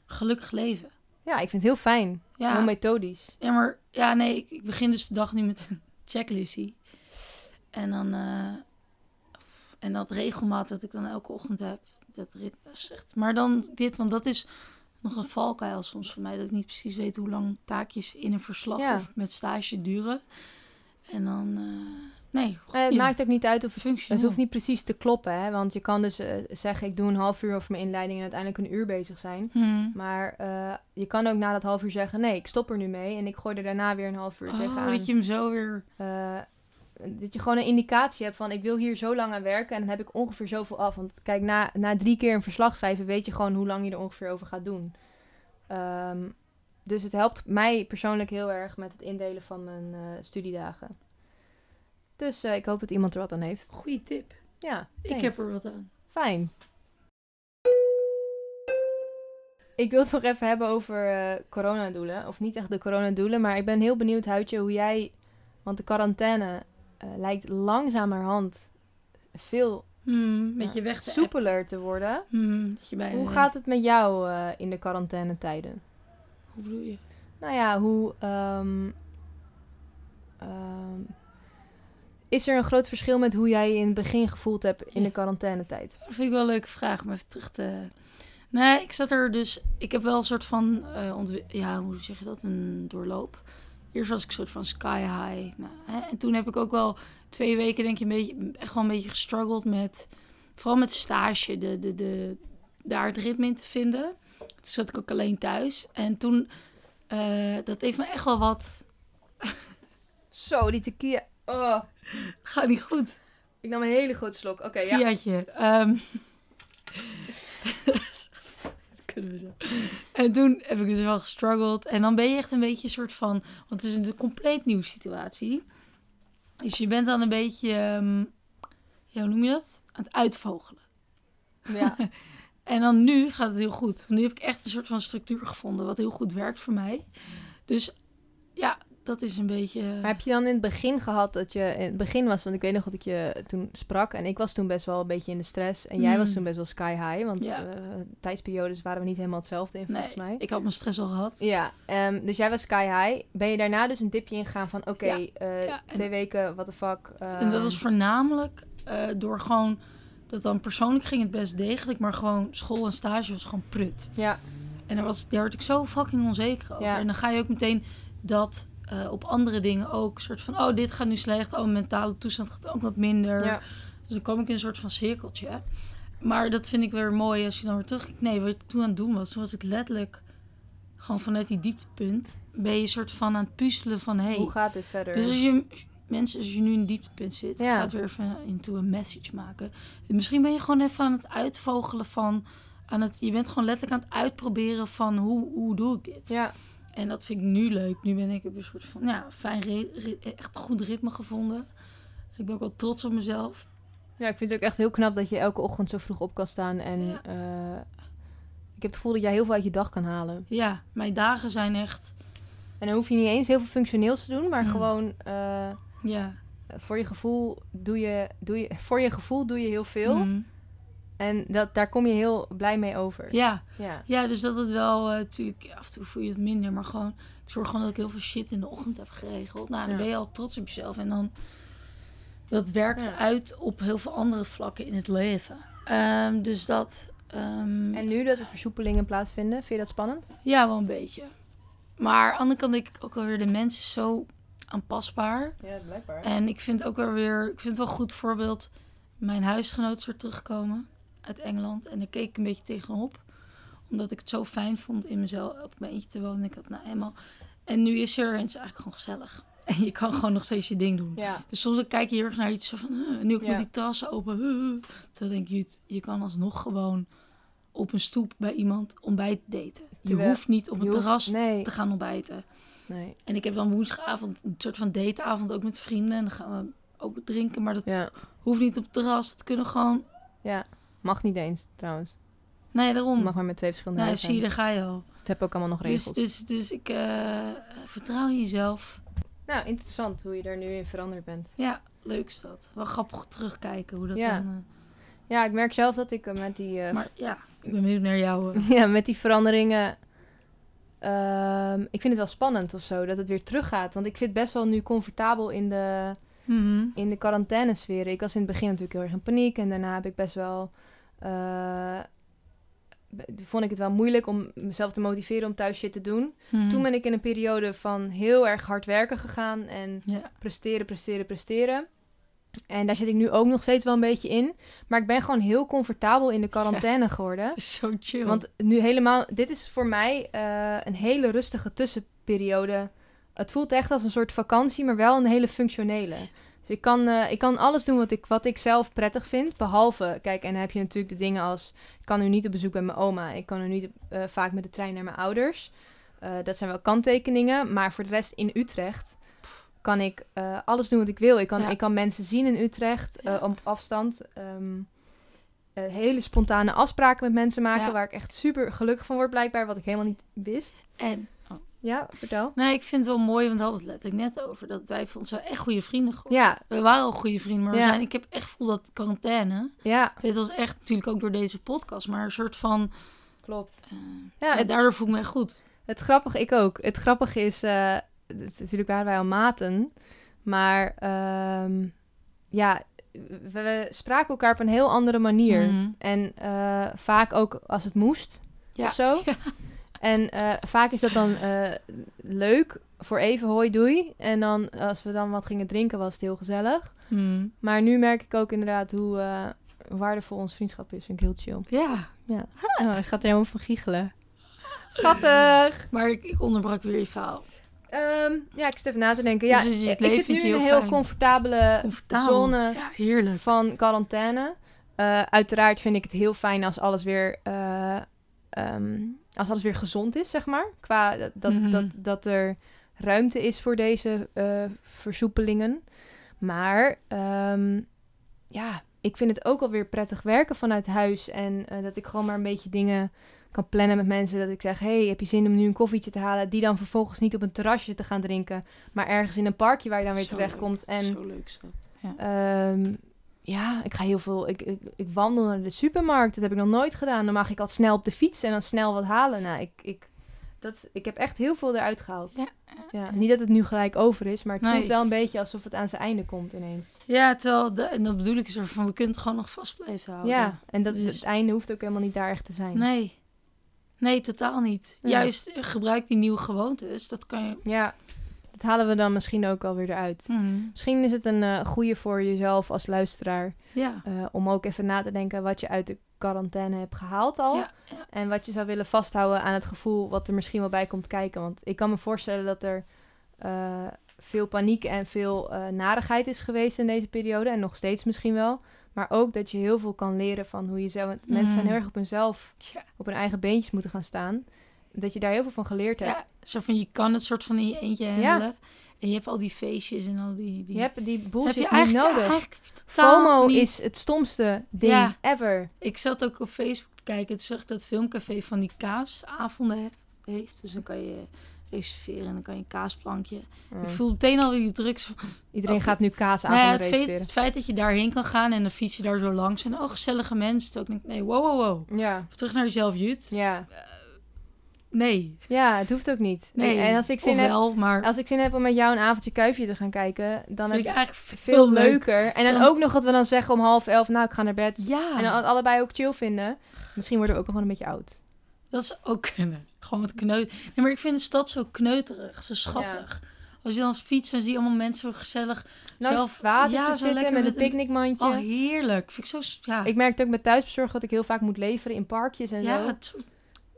Speaker 2: gelukkig leven.
Speaker 1: Ja, ik vind het heel fijn. Heel
Speaker 2: Ja,
Speaker 1: methodisch.
Speaker 2: ja maar ja, nee, ik, ik begin dus de dag nu met een checklistie. En dan, eh, en dat regelmaat dat ik dan elke ochtend heb. Dat ritme is echt. Maar dan dit, want dat is nog een valkuil soms voor mij. Dat ik niet precies weet hoe lang taakjes in een verslag
Speaker 1: Ja.
Speaker 2: of met stage duren. En dan, eh, nee,
Speaker 1: En het
Speaker 2: goeie.
Speaker 1: maakt ook niet uit of Het
Speaker 2: functioneel.
Speaker 1: hoeft niet precies te kloppen, hè? want je kan dus eh, zeggen: ik doe een half uur over mijn inleiding en uiteindelijk een uur bezig zijn.
Speaker 2: Hmm.
Speaker 1: Maar eh, je kan ook na dat half uur zeggen: nee, ik stop er nu mee en ik gooi er daarna weer een half uur
Speaker 2: Oh,
Speaker 1: tegenaan.
Speaker 2: dat je hem zo weer...
Speaker 1: Eh, dat je gewoon een indicatie hebt van: ik wil hier zo lang aan werken en dan heb ik ongeveer zoveel af. Want kijk, na, na drie keer een verslag schrijven weet je gewoon hoe lang je er ongeveer over gaat doen. Ehm, dus het helpt mij persoonlijk heel erg met het indelen van mijn eh, studiedagen. Dus eh, ik hoop dat iemand er wat aan heeft.
Speaker 2: Goeie tip.
Speaker 1: Ja,
Speaker 2: Ik
Speaker 1: thanks.
Speaker 2: heb er wat aan.
Speaker 1: Fijn. Ik wil het nog even hebben over eh, coronadoelen. Of niet echt de coronadoelen, maar ik ben heel benieuwd, Huidje, hoe jij... Want de quarantaine eh, lijkt langzamerhand veel
Speaker 2: Hmm, met
Speaker 1: Ja,
Speaker 2: je weg te appen.
Speaker 1: soepeler te Eh, worden.
Speaker 2: Hmm, dat je bijna
Speaker 1: Hoe
Speaker 2: denkt,
Speaker 1: gaat het met jou eh, in de quarantainetijden?
Speaker 2: Hoe bedoel je?
Speaker 1: Nou ja, hoe... ehm, ehm, is er een groot verschil met hoe jij je in het begin gevoeld hebt in de quarantainetijd?
Speaker 2: Dat vind ik wel een leuke vraag om even terug te... Nee, ik zat er dus... Ik heb wel een soort van... eh, ontwi- ja, hoe zeg je dat? Een doorloop. Eerst was ik een soort van sky high. Nou, hè, En toen heb ik ook wel twee weken denk ik een beetje... Echt wel een beetje gestruggeld met... Vooral met stage. De, de, de, daar het ritme in te vinden. Toen zat ik ook alleen thuis. En toen... eh, dat heeft me echt wel wat...
Speaker 1: Zo, die tequila. Oh.
Speaker 2: Gaat niet goed.
Speaker 1: Ik nam een hele grote slok. Oké, ja.
Speaker 2: Kiaatje. ehm. Dat kunnen we zo. En toen heb ik dus wel gestruggeld. En dan ben je echt een beetje een soort van... Want het is een compleet nieuwe situatie. Dus je bent dan een beetje... ehm, ja, hoe noem je dat? Aan het uitvogelen.
Speaker 1: ja.
Speaker 2: En dan nu gaat het heel goed. Nu heb ik echt een soort van structuur gevonden... wat heel goed werkt voor mij. Dus ja, dat is een beetje...
Speaker 1: Maar heb je dan in het begin gehad dat je... In het begin was, want ik weet nog dat ik je toen sprak. En ik was toen best wel een beetje in de stress. En jij
Speaker 2: Mm.
Speaker 1: was toen best wel sky high. Want
Speaker 2: Ja.
Speaker 1: eh, tijdsperiodes waren we niet helemaal hetzelfde in, volgens
Speaker 2: nee,
Speaker 1: mij.
Speaker 2: ik had mijn stress al gehad.
Speaker 1: Ja, ehm, dus jij was sky high. Ben je daarna dus een dipje ingegaan van... Oké,
Speaker 2: Ja.
Speaker 1: eh,
Speaker 2: Ja, en-
Speaker 1: twee weken, what the fuck.
Speaker 2: En dat
Speaker 1: ehm,
Speaker 2: was voornamelijk eh, door gewoon dat dan persoonlijk ging het best degelijk, maar gewoon school en stage was gewoon prut.
Speaker 1: Ja,
Speaker 2: En daar, was, daar werd ik zo fucking onzeker over.
Speaker 1: Ja.
Speaker 2: En dan ga je ook meteen dat eh, op andere dingen ook soort van, oh dit gaat nu slecht, oh mijn mentale toestand gaat ook wat minder.
Speaker 1: ja.
Speaker 2: Dus dan kwam ik in een soort van cirkeltje. Maar dat vind ik weer mooi als je dan weer terugkijkt. Nee, wat ik toen aan het doen was, toen was ik letterlijk gewoon vanuit die dieptepunt, ben je een soort van aan het puzzelen van, hey,
Speaker 1: Hoe gaat dit verder?
Speaker 2: dus als je, mensen, als je nu in een dieptepunt zit,
Speaker 1: Ja.
Speaker 2: gaat weer even into een message maken. Misschien ben je gewoon even aan het uitvogelen van, aan het, je bent gewoon letterlijk aan het uitproberen van hoe, hoe doe ik dit.
Speaker 1: Ja,
Speaker 2: En dat vind ik nu leuk. Nu ben ik op een soort van, ja, fijn, ri- ri- echt goed ritme gevonden. Ik ben ook wel trots op mezelf.
Speaker 1: Ja, ik vind het ook echt heel knap dat je elke ochtend zo vroeg op kan staan. En
Speaker 2: Ja.
Speaker 1: eh, ik heb het gevoel dat jij heel veel uit je dag kan halen.
Speaker 2: Ja, mijn dagen zijn echt...
Speaker 1: En dan hoef je niet eens heel veel functioneels te doen, maar
Speaker 2: Mm.
Speaker 1: gewoon eh,
Speaker 2: Ja.
Speaker 1: voor je gevoel doe je, doe je, voor je gevoel doe je heel veel.
Speaker 2: Mm.
Speaker 1: En dat, daar kom je heel blij mee over.
Speaker 2: Ja.
Speaker 1: Ja.
Speaker 2: ja, dus dat het wel... eh, Natuurlijk, af en toe voel je het minder. Maar gewoon, ik zorg gewoon dat ik heel veel shit in de ochtend heb geregeld. Nou, dan
Speaker 1: Ja.
Speaker 2: ben je al trots op jezelf. En dan... Dat werkt
Speaker 1: Ja.
Speaker 2: uit op heel veel andere vlakken in het leven. Ehm, dus dat... ehm,
Speaker 1: En nu dat er versoepelingen plaatsvinden, vind je dat spannend?
Speaker 2: Ja, wel een beetje. Maar aan de andere kant denk ik ook wel weer, de mens is zo aanpasbaar.
Speaker 1: Ja, blijkbaar.
Speaker 2: En ik vind ook wel weer, ik vind het wel een goed voorbeeld. Mijn huisgenoot is weer teruggekomen uit Engeland. En daar keek ik een beetje tegenop. Omdat ik het zo fijn vond in mezelf, op mijn eentje te wonen. Ik had nou eenmaal... En nu is ze er en het is eigenlijk gewoon gezellig. En je kan gewoon nog steeds je ding doen.
Speaker 1: Ja.
Speaker 2: Dus soms dan kijk je heel erg naar iets zo van, "Huh," en nu ook
Speaker 1: Ja.
Speaker 2: met die tassen open. "Huh." Terwijl denk je, "Jut, je kan alsnog gewoon op een stoep bij iemand ontbijt daten. Je
Speaker 1: Terwijl-
Speaker 2: hoeft niet op
Speaker 1: Je
Speaker 2: een
Speaker 1: hoeft-
Speaker 2: terras
Speaker 1: nee,
Speaker 2: te gaan ontbijten.
Speaker 1: nee.
Speaker 2: En ik heb dan woensdagavond een soort van dateavond ook met vrienden. En dan gaan we ook drinken, maar dat
Speaker 1: Ja.
Speaker 2: hoeft niet op het terras. Dat kunnen we gewoon...
Speaker 1: ja. Mag niet eens, trouwens.
Speaker 2: Nee, daarom.
Speaker 1: Mag maar met twee verschillende
Speaker 2: nou,
Speaker 1: huizen.
Speaker 2: zie je, daar ga je al.
Speaker 1: Dus dat heb ik ook allemaal nog
Speaker 2: Dus,
Speaker 1: regels.
Speaker 2: dus, dus ik eh, vertrouw in jezelf.
Speaker 1: Nou, interessant hoe je daar nu in veranderd bent.
Speaker 2: Ja, leuk is dat. Wel grappig terugkijken hoe dat
Speaker 1: Ja.
Speaker 2: dan... eh,
Speaker 1: Ja, ik merk zelf dat ik eh, met die, eh,
Speaker 2: maar ja, ik ben benieuwd naar jou. eh.
Speaker 1: ja, met die veranderingen... ehm, ik vind het wel spannend of zo, dat het weer teruggaat. Want ik zit best wel nu comfortabel in de,
Speaker 2: Mhm.
Speaker 1: in de quarantainesfeer. Ik was in het begin natuurlijk heel erg in paniek. En daarna heb ik best wel... eh, be- vond ik het wel moeilijk om mezelf te motiveren om thuis shit te doen.
Speaker 2: Mhm.
Speaker 1: Toen ben ik in een periode van heel erg hard werken gegaan. En
Speaker 2: Ja.
Speaker 1: presteren, presteren, presteren. En daar zit ik nu ook nog steeds wel een beetje in. Maar ik ben gewoon heel comfortabel in de quarantaine geworden.
Speaker 2: Het is zo chill.
Speaker 1: Want nu helemaal, dit is voor mij eh, een hele rustige tussenperiode. Het voelt echt als een soort vakantie, maar wel een hele functionele. Dus ik kan, eh, ik kan alles doen wat ik, wat ik zelf prettig vind. Behalve, kijk, en dan heb je natuurlijk de dingen als... Ik kan nu niet op bezoek bij mijn oma. Ik kan nu niet eh, vaak met de trein naar mijn ouders. Eh, dat zijn wel kanttekeningen. Maar voor de rest in Utrecht kan ik eh, alles doen wat ik wil. Ik kan,
Speaker 2: Ja.
Speaker 1: ik kan mensen zien in Utrecht eh,
Speaker 2: Ja.
Speaker 1: op afstand. Ehm, eh, hele spontane afspraken met mensen maken...
Speaker 2: Ja.
Speaker 1: waar ik echt super gelukkig van word blijkbaar... wat ik helemaal niet wist.
Speaker 2: En...
Speaker 1: Ja, vertel.
Speaker 2: Nee, ik vind het wel mooi, want we hadden het letterlijk net over. Dat wij vonden zo echt goede vrienden geworden.
Speaker 1: Ja,
Speaker 2: We waren al goede vrienden, maar we
Speaker 1: Ja.
Speaker 2: zijn, ik heb echt gevoel dat quarantaine...
Speaker 1: ja,
Speaker 2: Dit was echt natuurlijk ook door deze podcast, maar een soort van...
Speaker 1: klopt.
Speaker 2: eh,
Speaker 1: Ja,
Speaker 2: ja,
Speaker 1: het,
Speaker 2: daardoor voel ik mij goed.
Speaker 1: Het grappige, ik ook. Het grappige is, eh, het- natuurlijk waren wij al maten, maar ehm, ja, we, we spraken elkaar op een heel andere manier.
Speaker 2: Mhm.
Speaker 1: En eh, vaak ook als het moest
Speaker 2: Ja.
Speaker 1: of zo. En eh, vaak is dat dan eh, leuk, voor even hoi doei. En dan als we dan wat gingen drinken was het heel gezellig.
Speaker 2: Mm.
Speaker 1: Maar nu merk ik ook inderdaad hoe eh, waardevol ons vriendschap is. Vind ik heel chill.
Speaker 2: Ja,
Speaker 1: Oh, het gaat er helemaal van giechelen. Schattig!
Speaker 2: maar ik, ik onderbrak weer je verhaal.
Speaker 1: Ehm, ja, ik zit even na te denken. Ja,
Speaker 2: Dus het
Speaker 1: ik
Speaker 2: leven
Speaker 1: zit nu
Speaker 2: vind
Speaker 1: in
Speaker 2: je
Speaker 1: een
Speaker 2: heel
Speaker 1: heel
Speaker 2: fijn.
Speaker 1: comfortabele
Speaker 2: Comfortabel.
Speaker 1: zone.
Speaker 2: Ja, heerlijk.
Speaker 1: van quarantaine. Eh, uiteraard vind ik het heel fijn als alles weer, eh, ehm, als alles weer gezond is, zeg maar. Qua dat, dat,
Speaker 2: Mhm.
Speaker 1: dat, dat er ruimte is voor deze eh, versoepelingen. Maar ehm, ja, ik vind het ook alweer prettig werken vanuit huis. En eh, dat ik gewoon maar een beetje dingen kan plannen met mensen. Dat ik zeg, hey, heb je zin om nu een koffietje te halen? Die dan vervolgens niet op een terrasje te gaan drinken. Maar ergens in een parkje waar je dan weer
Speaker 2: Zo
Speaker 1: terecht komt.
Speaker 2: leuk.
Speaker 1: En
Speaker 2: Zo leuk is dat. Ja.
Speaker 1: Ehm, ja, ik ga heel veel. Ik, ik, ik wandel naar de supermarkt. Dat heb ik nog nooit gedaan. Dan mag ik altijd snel op de fiets en dan snel wat halen. Nou, ik, ik, dat, is- ik heb echt heel veel eruit gehaald.
Speaker 2: Ja.
Speaker 1: Ja, niet dat het nu gelijk over is, maar het
Speaker 2: Nee.
Speaker 1: voelt wel een beetje alsof het aan zijn einde komt ineens.
Speaker 2: Ja, terwijl, de, en dat bedoel ik zo van, we kunnen het gewoon nog vast blijven houden.
Speaker 1: Ja, en dat,
Speaker 2: Dus-
Speaker 1: het einde hoeft ook helemaal niet daar echt te zijn.
Speaker 2: Nee. Nee, totaal niet.
Speaker 1: Ja.
Speaker 2: Juist, eh, gebruik die nieuwe gewoontes. Dat kan je...
Speaker 1: Ja, dat halen we dan misschien ook alweer eruit.
Speaker 2: Mhm.
Speaker 1: Misschien is het een eh goede voor jezelf als luisteraar
Speaker 2: Ja.
Speaker 1: eh, om ook even na te denken wat je uit de quarantaine hebt gehaald al.
Speaker 2: Ja, ja.
Speaker 1: En wat je zou willen vasthouden aan het gevoel wat er misschien wel bij komt kijken. Want ik kan me voorstellen dat er eh, veel paniek en veel eh narigheid is geweest in deze periode. En nog steeds misschien wel. Maar ook dat je heel veel kan leren van hoe je zelf... want Mensen zijn heel erg op hunzelf,
Speaker 2: Mm. Tja.
Speaker 1: op hun eigen beentjes moeten gaan staan. Dat je daar heel veel van geleerd hebt.
Speaker 2: Ja, zo van je kan het soort van in je eentje
Speaker 1: Ja.
Speaker 2: handelen. En je hebt al die feestjes en al die... die...
Speaker 1: Je hebt die
Speaker 2: heb je
Speaker 1: bullshit niet
Speaker 2: eigenlijk,
Speaker 1: nodig.
Speaker 2: eigenlijk heb je totaal
Speaker 1: FOMO
Speaker 2: niet-
Speaker 1: is het stomste ding
Speaker 2: Ja.
Speaker 1: ever.
Speaker 2: Ik zat ook op Facebook te kijken. Toen zag ik dat filmcafé van die kaasavonden heeft- heeft. Dus dan kan je reserveren en dan kan je een kaasplankje. Ik voel meteen al weer die drugs.
Speaker 1: Iedereen
Speaker 2: Oh,
Speaker 1: gaat nu kaas aan
Speaker 2: Nou ja,
Speaker 1: het
Speaker 2: het, feit, het feit dat je daarheen kan gaan en dan fiets je daar zo langs. En oh, gezellige mensen. Toen ik denk, nee, wow, wow, wow.
Speaker 1: Ja,
Speaker 2: Of terug naar jezelf, Jut.
Speaker 1: ja.
Speaker 2: Nee.
Speaker 1: ja, het hoeft ook niet.
Speaker 2: Nee.
Speaker 1: En als ik, zin
Speaker 2: Of
Speaker 1: heb,
Speaker 2: wel, maar
Speaker 1: als ik zin heb om met jou een avondje kuifje te gaan kijken, dan heb
Speaker 2: vind
Speaker 1: ik
Speaker 2: ik eigenlijk veel,
Speaker 1: veel
Speaker 2: leuk.
Speaker 1: leuker. En dan
Speaker 2: Dan-
Speaker 1: ook nog dat we dan zeggen om half elf, nou ik ga naar bed.
Speaker 2: Ja,
Speaker 1: En dan allebei ook chill vinden. Misschien worden we ook nog wel een beetje oud.
Speaker 2: dat is ook kunnen. Gewoon wat kneut. Nee, maar ik vind de stad zo kneuterig, zo schattig. Als je dan fietst, dan zie je allemaal mensen zo gezellig.
Speaker 1: Langs
Speaker 2: zelf
Speaker 1: Nou, het water
Speaker 2: ja,
Speaker 1: te
Speaker 2: zo
Speaker 1: zitten
Speaker 2: lekker
Speaker 1: met, een
Speaker 2: met een-
Speaker 1: picknickmandje.
Speaker 2: Oh, heerlijk. Vind ik zo... s- Ja,
Speaker 1: Ik merk het ook met thuisbezorg dat ik heel vaak moet leveren in parkjes en
Speaker 2: ja
Speaker 1: zo.
Speaker 2: het,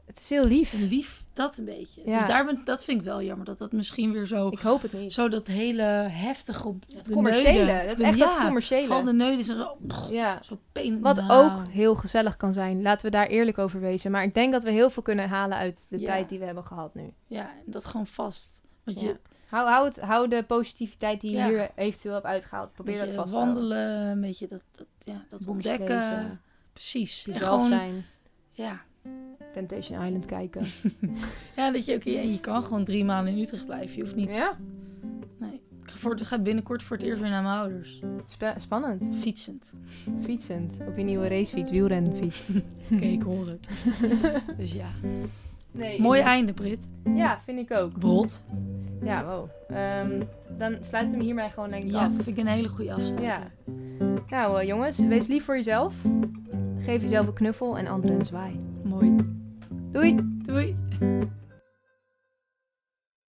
Speaker 1: Het is heel lief.
Speaker 2: lief dat een beetje.
Speaker 1: Ja.
Speaker 2: Dus daar ben, dat vind ik wel jammer. Dat dat misschien weer zo...
Speaker 1: Ik hoop het niet.
Speaker 2: Zo dat hele heftige... op de
Speaker 1: commerciële.
Speaker 2: neuden.
Speaker 1: Dat,
Speaker 2: De-
Speaker 1: echt dat
Speaker 2: ja, Vooral de
Speaker 1: commerciële.
Speaker 2: neuden zijn zo... pff,
Speaker 1: Ja.
Speaker 2: Zo pijn.
Speaker 1: Wat
Speaker 2: Nou.
Speaker 1: ook heel gezellig kan zijn. Laten we daar eerlijk over wezen. Maar ik denk dat we heel veel kunnen halen uit de
Speaker 2: Ja.
Speaker 1: tijd die we hebben gehad nu.
Speaker 2: Ja, en dat gewoon vast. Want
Speaker 1: Ja.
Speaker 2: je,
Speaker 1: Hou, hou, het, hou de positiviteit die je
Speaker 2: Ja.
Speaker 1: hier eventueel hebt uitgehaald. Probeer
Speaker 2: een
Speaker 1: dat
Speaker 2: beetje
Speaker 1: vast te houden.
Speaker 2: wandelen, een beetje dat, dat, ja, dat
Speaker 1: Boekjes
Speaker 2: ontdekken.
Speaker 1: lezen,
Speaker 2: Precies. En
Speaker 1: Jezelf
Speaker 2: gewoon,
Speaker 1: zijn.
Speaker 2: Ja.
Speaker 1: Temptation Island kijken.
Speaker 2: ja, dat je ook... Ja, je kan gewoon drie maanden in Utrecht blijven. Je hoeft niet...
Speaker 1: Ja,
Speaker 2: Ik ga, voor, ik ga binnenkort voor het eerst weer naar mijn ouders.
Speaker 1: Spe- spannend.
Speaker 2: Fietsend.
Speaker 1: Fietsend. Op je nieuwe racefiets, wielrenfiets.
Speaker 2: Oké, ik hoor het. dus ja.
Speaker 1: Nee,
Speaker 2: Mooi einde, Brit.
Speaker 1: Ja, vind ik ook.
Speaker 2: Brot.
Speaker 1: Ja, wow. Ehm, dan sluiten we hem hiermee gewoon denk ik
Speaker 2: Ja,
Speaker 1: af.
Speaker 2: vind ik een hele goede afsluiting.
Speaker 1: Ja. Nou eh, jongens, wees lief voor jezelf. Geef jezelf een knuffel en anderen een zwaai.
Speaker 2: Mooi.
Speaker 1: Doei!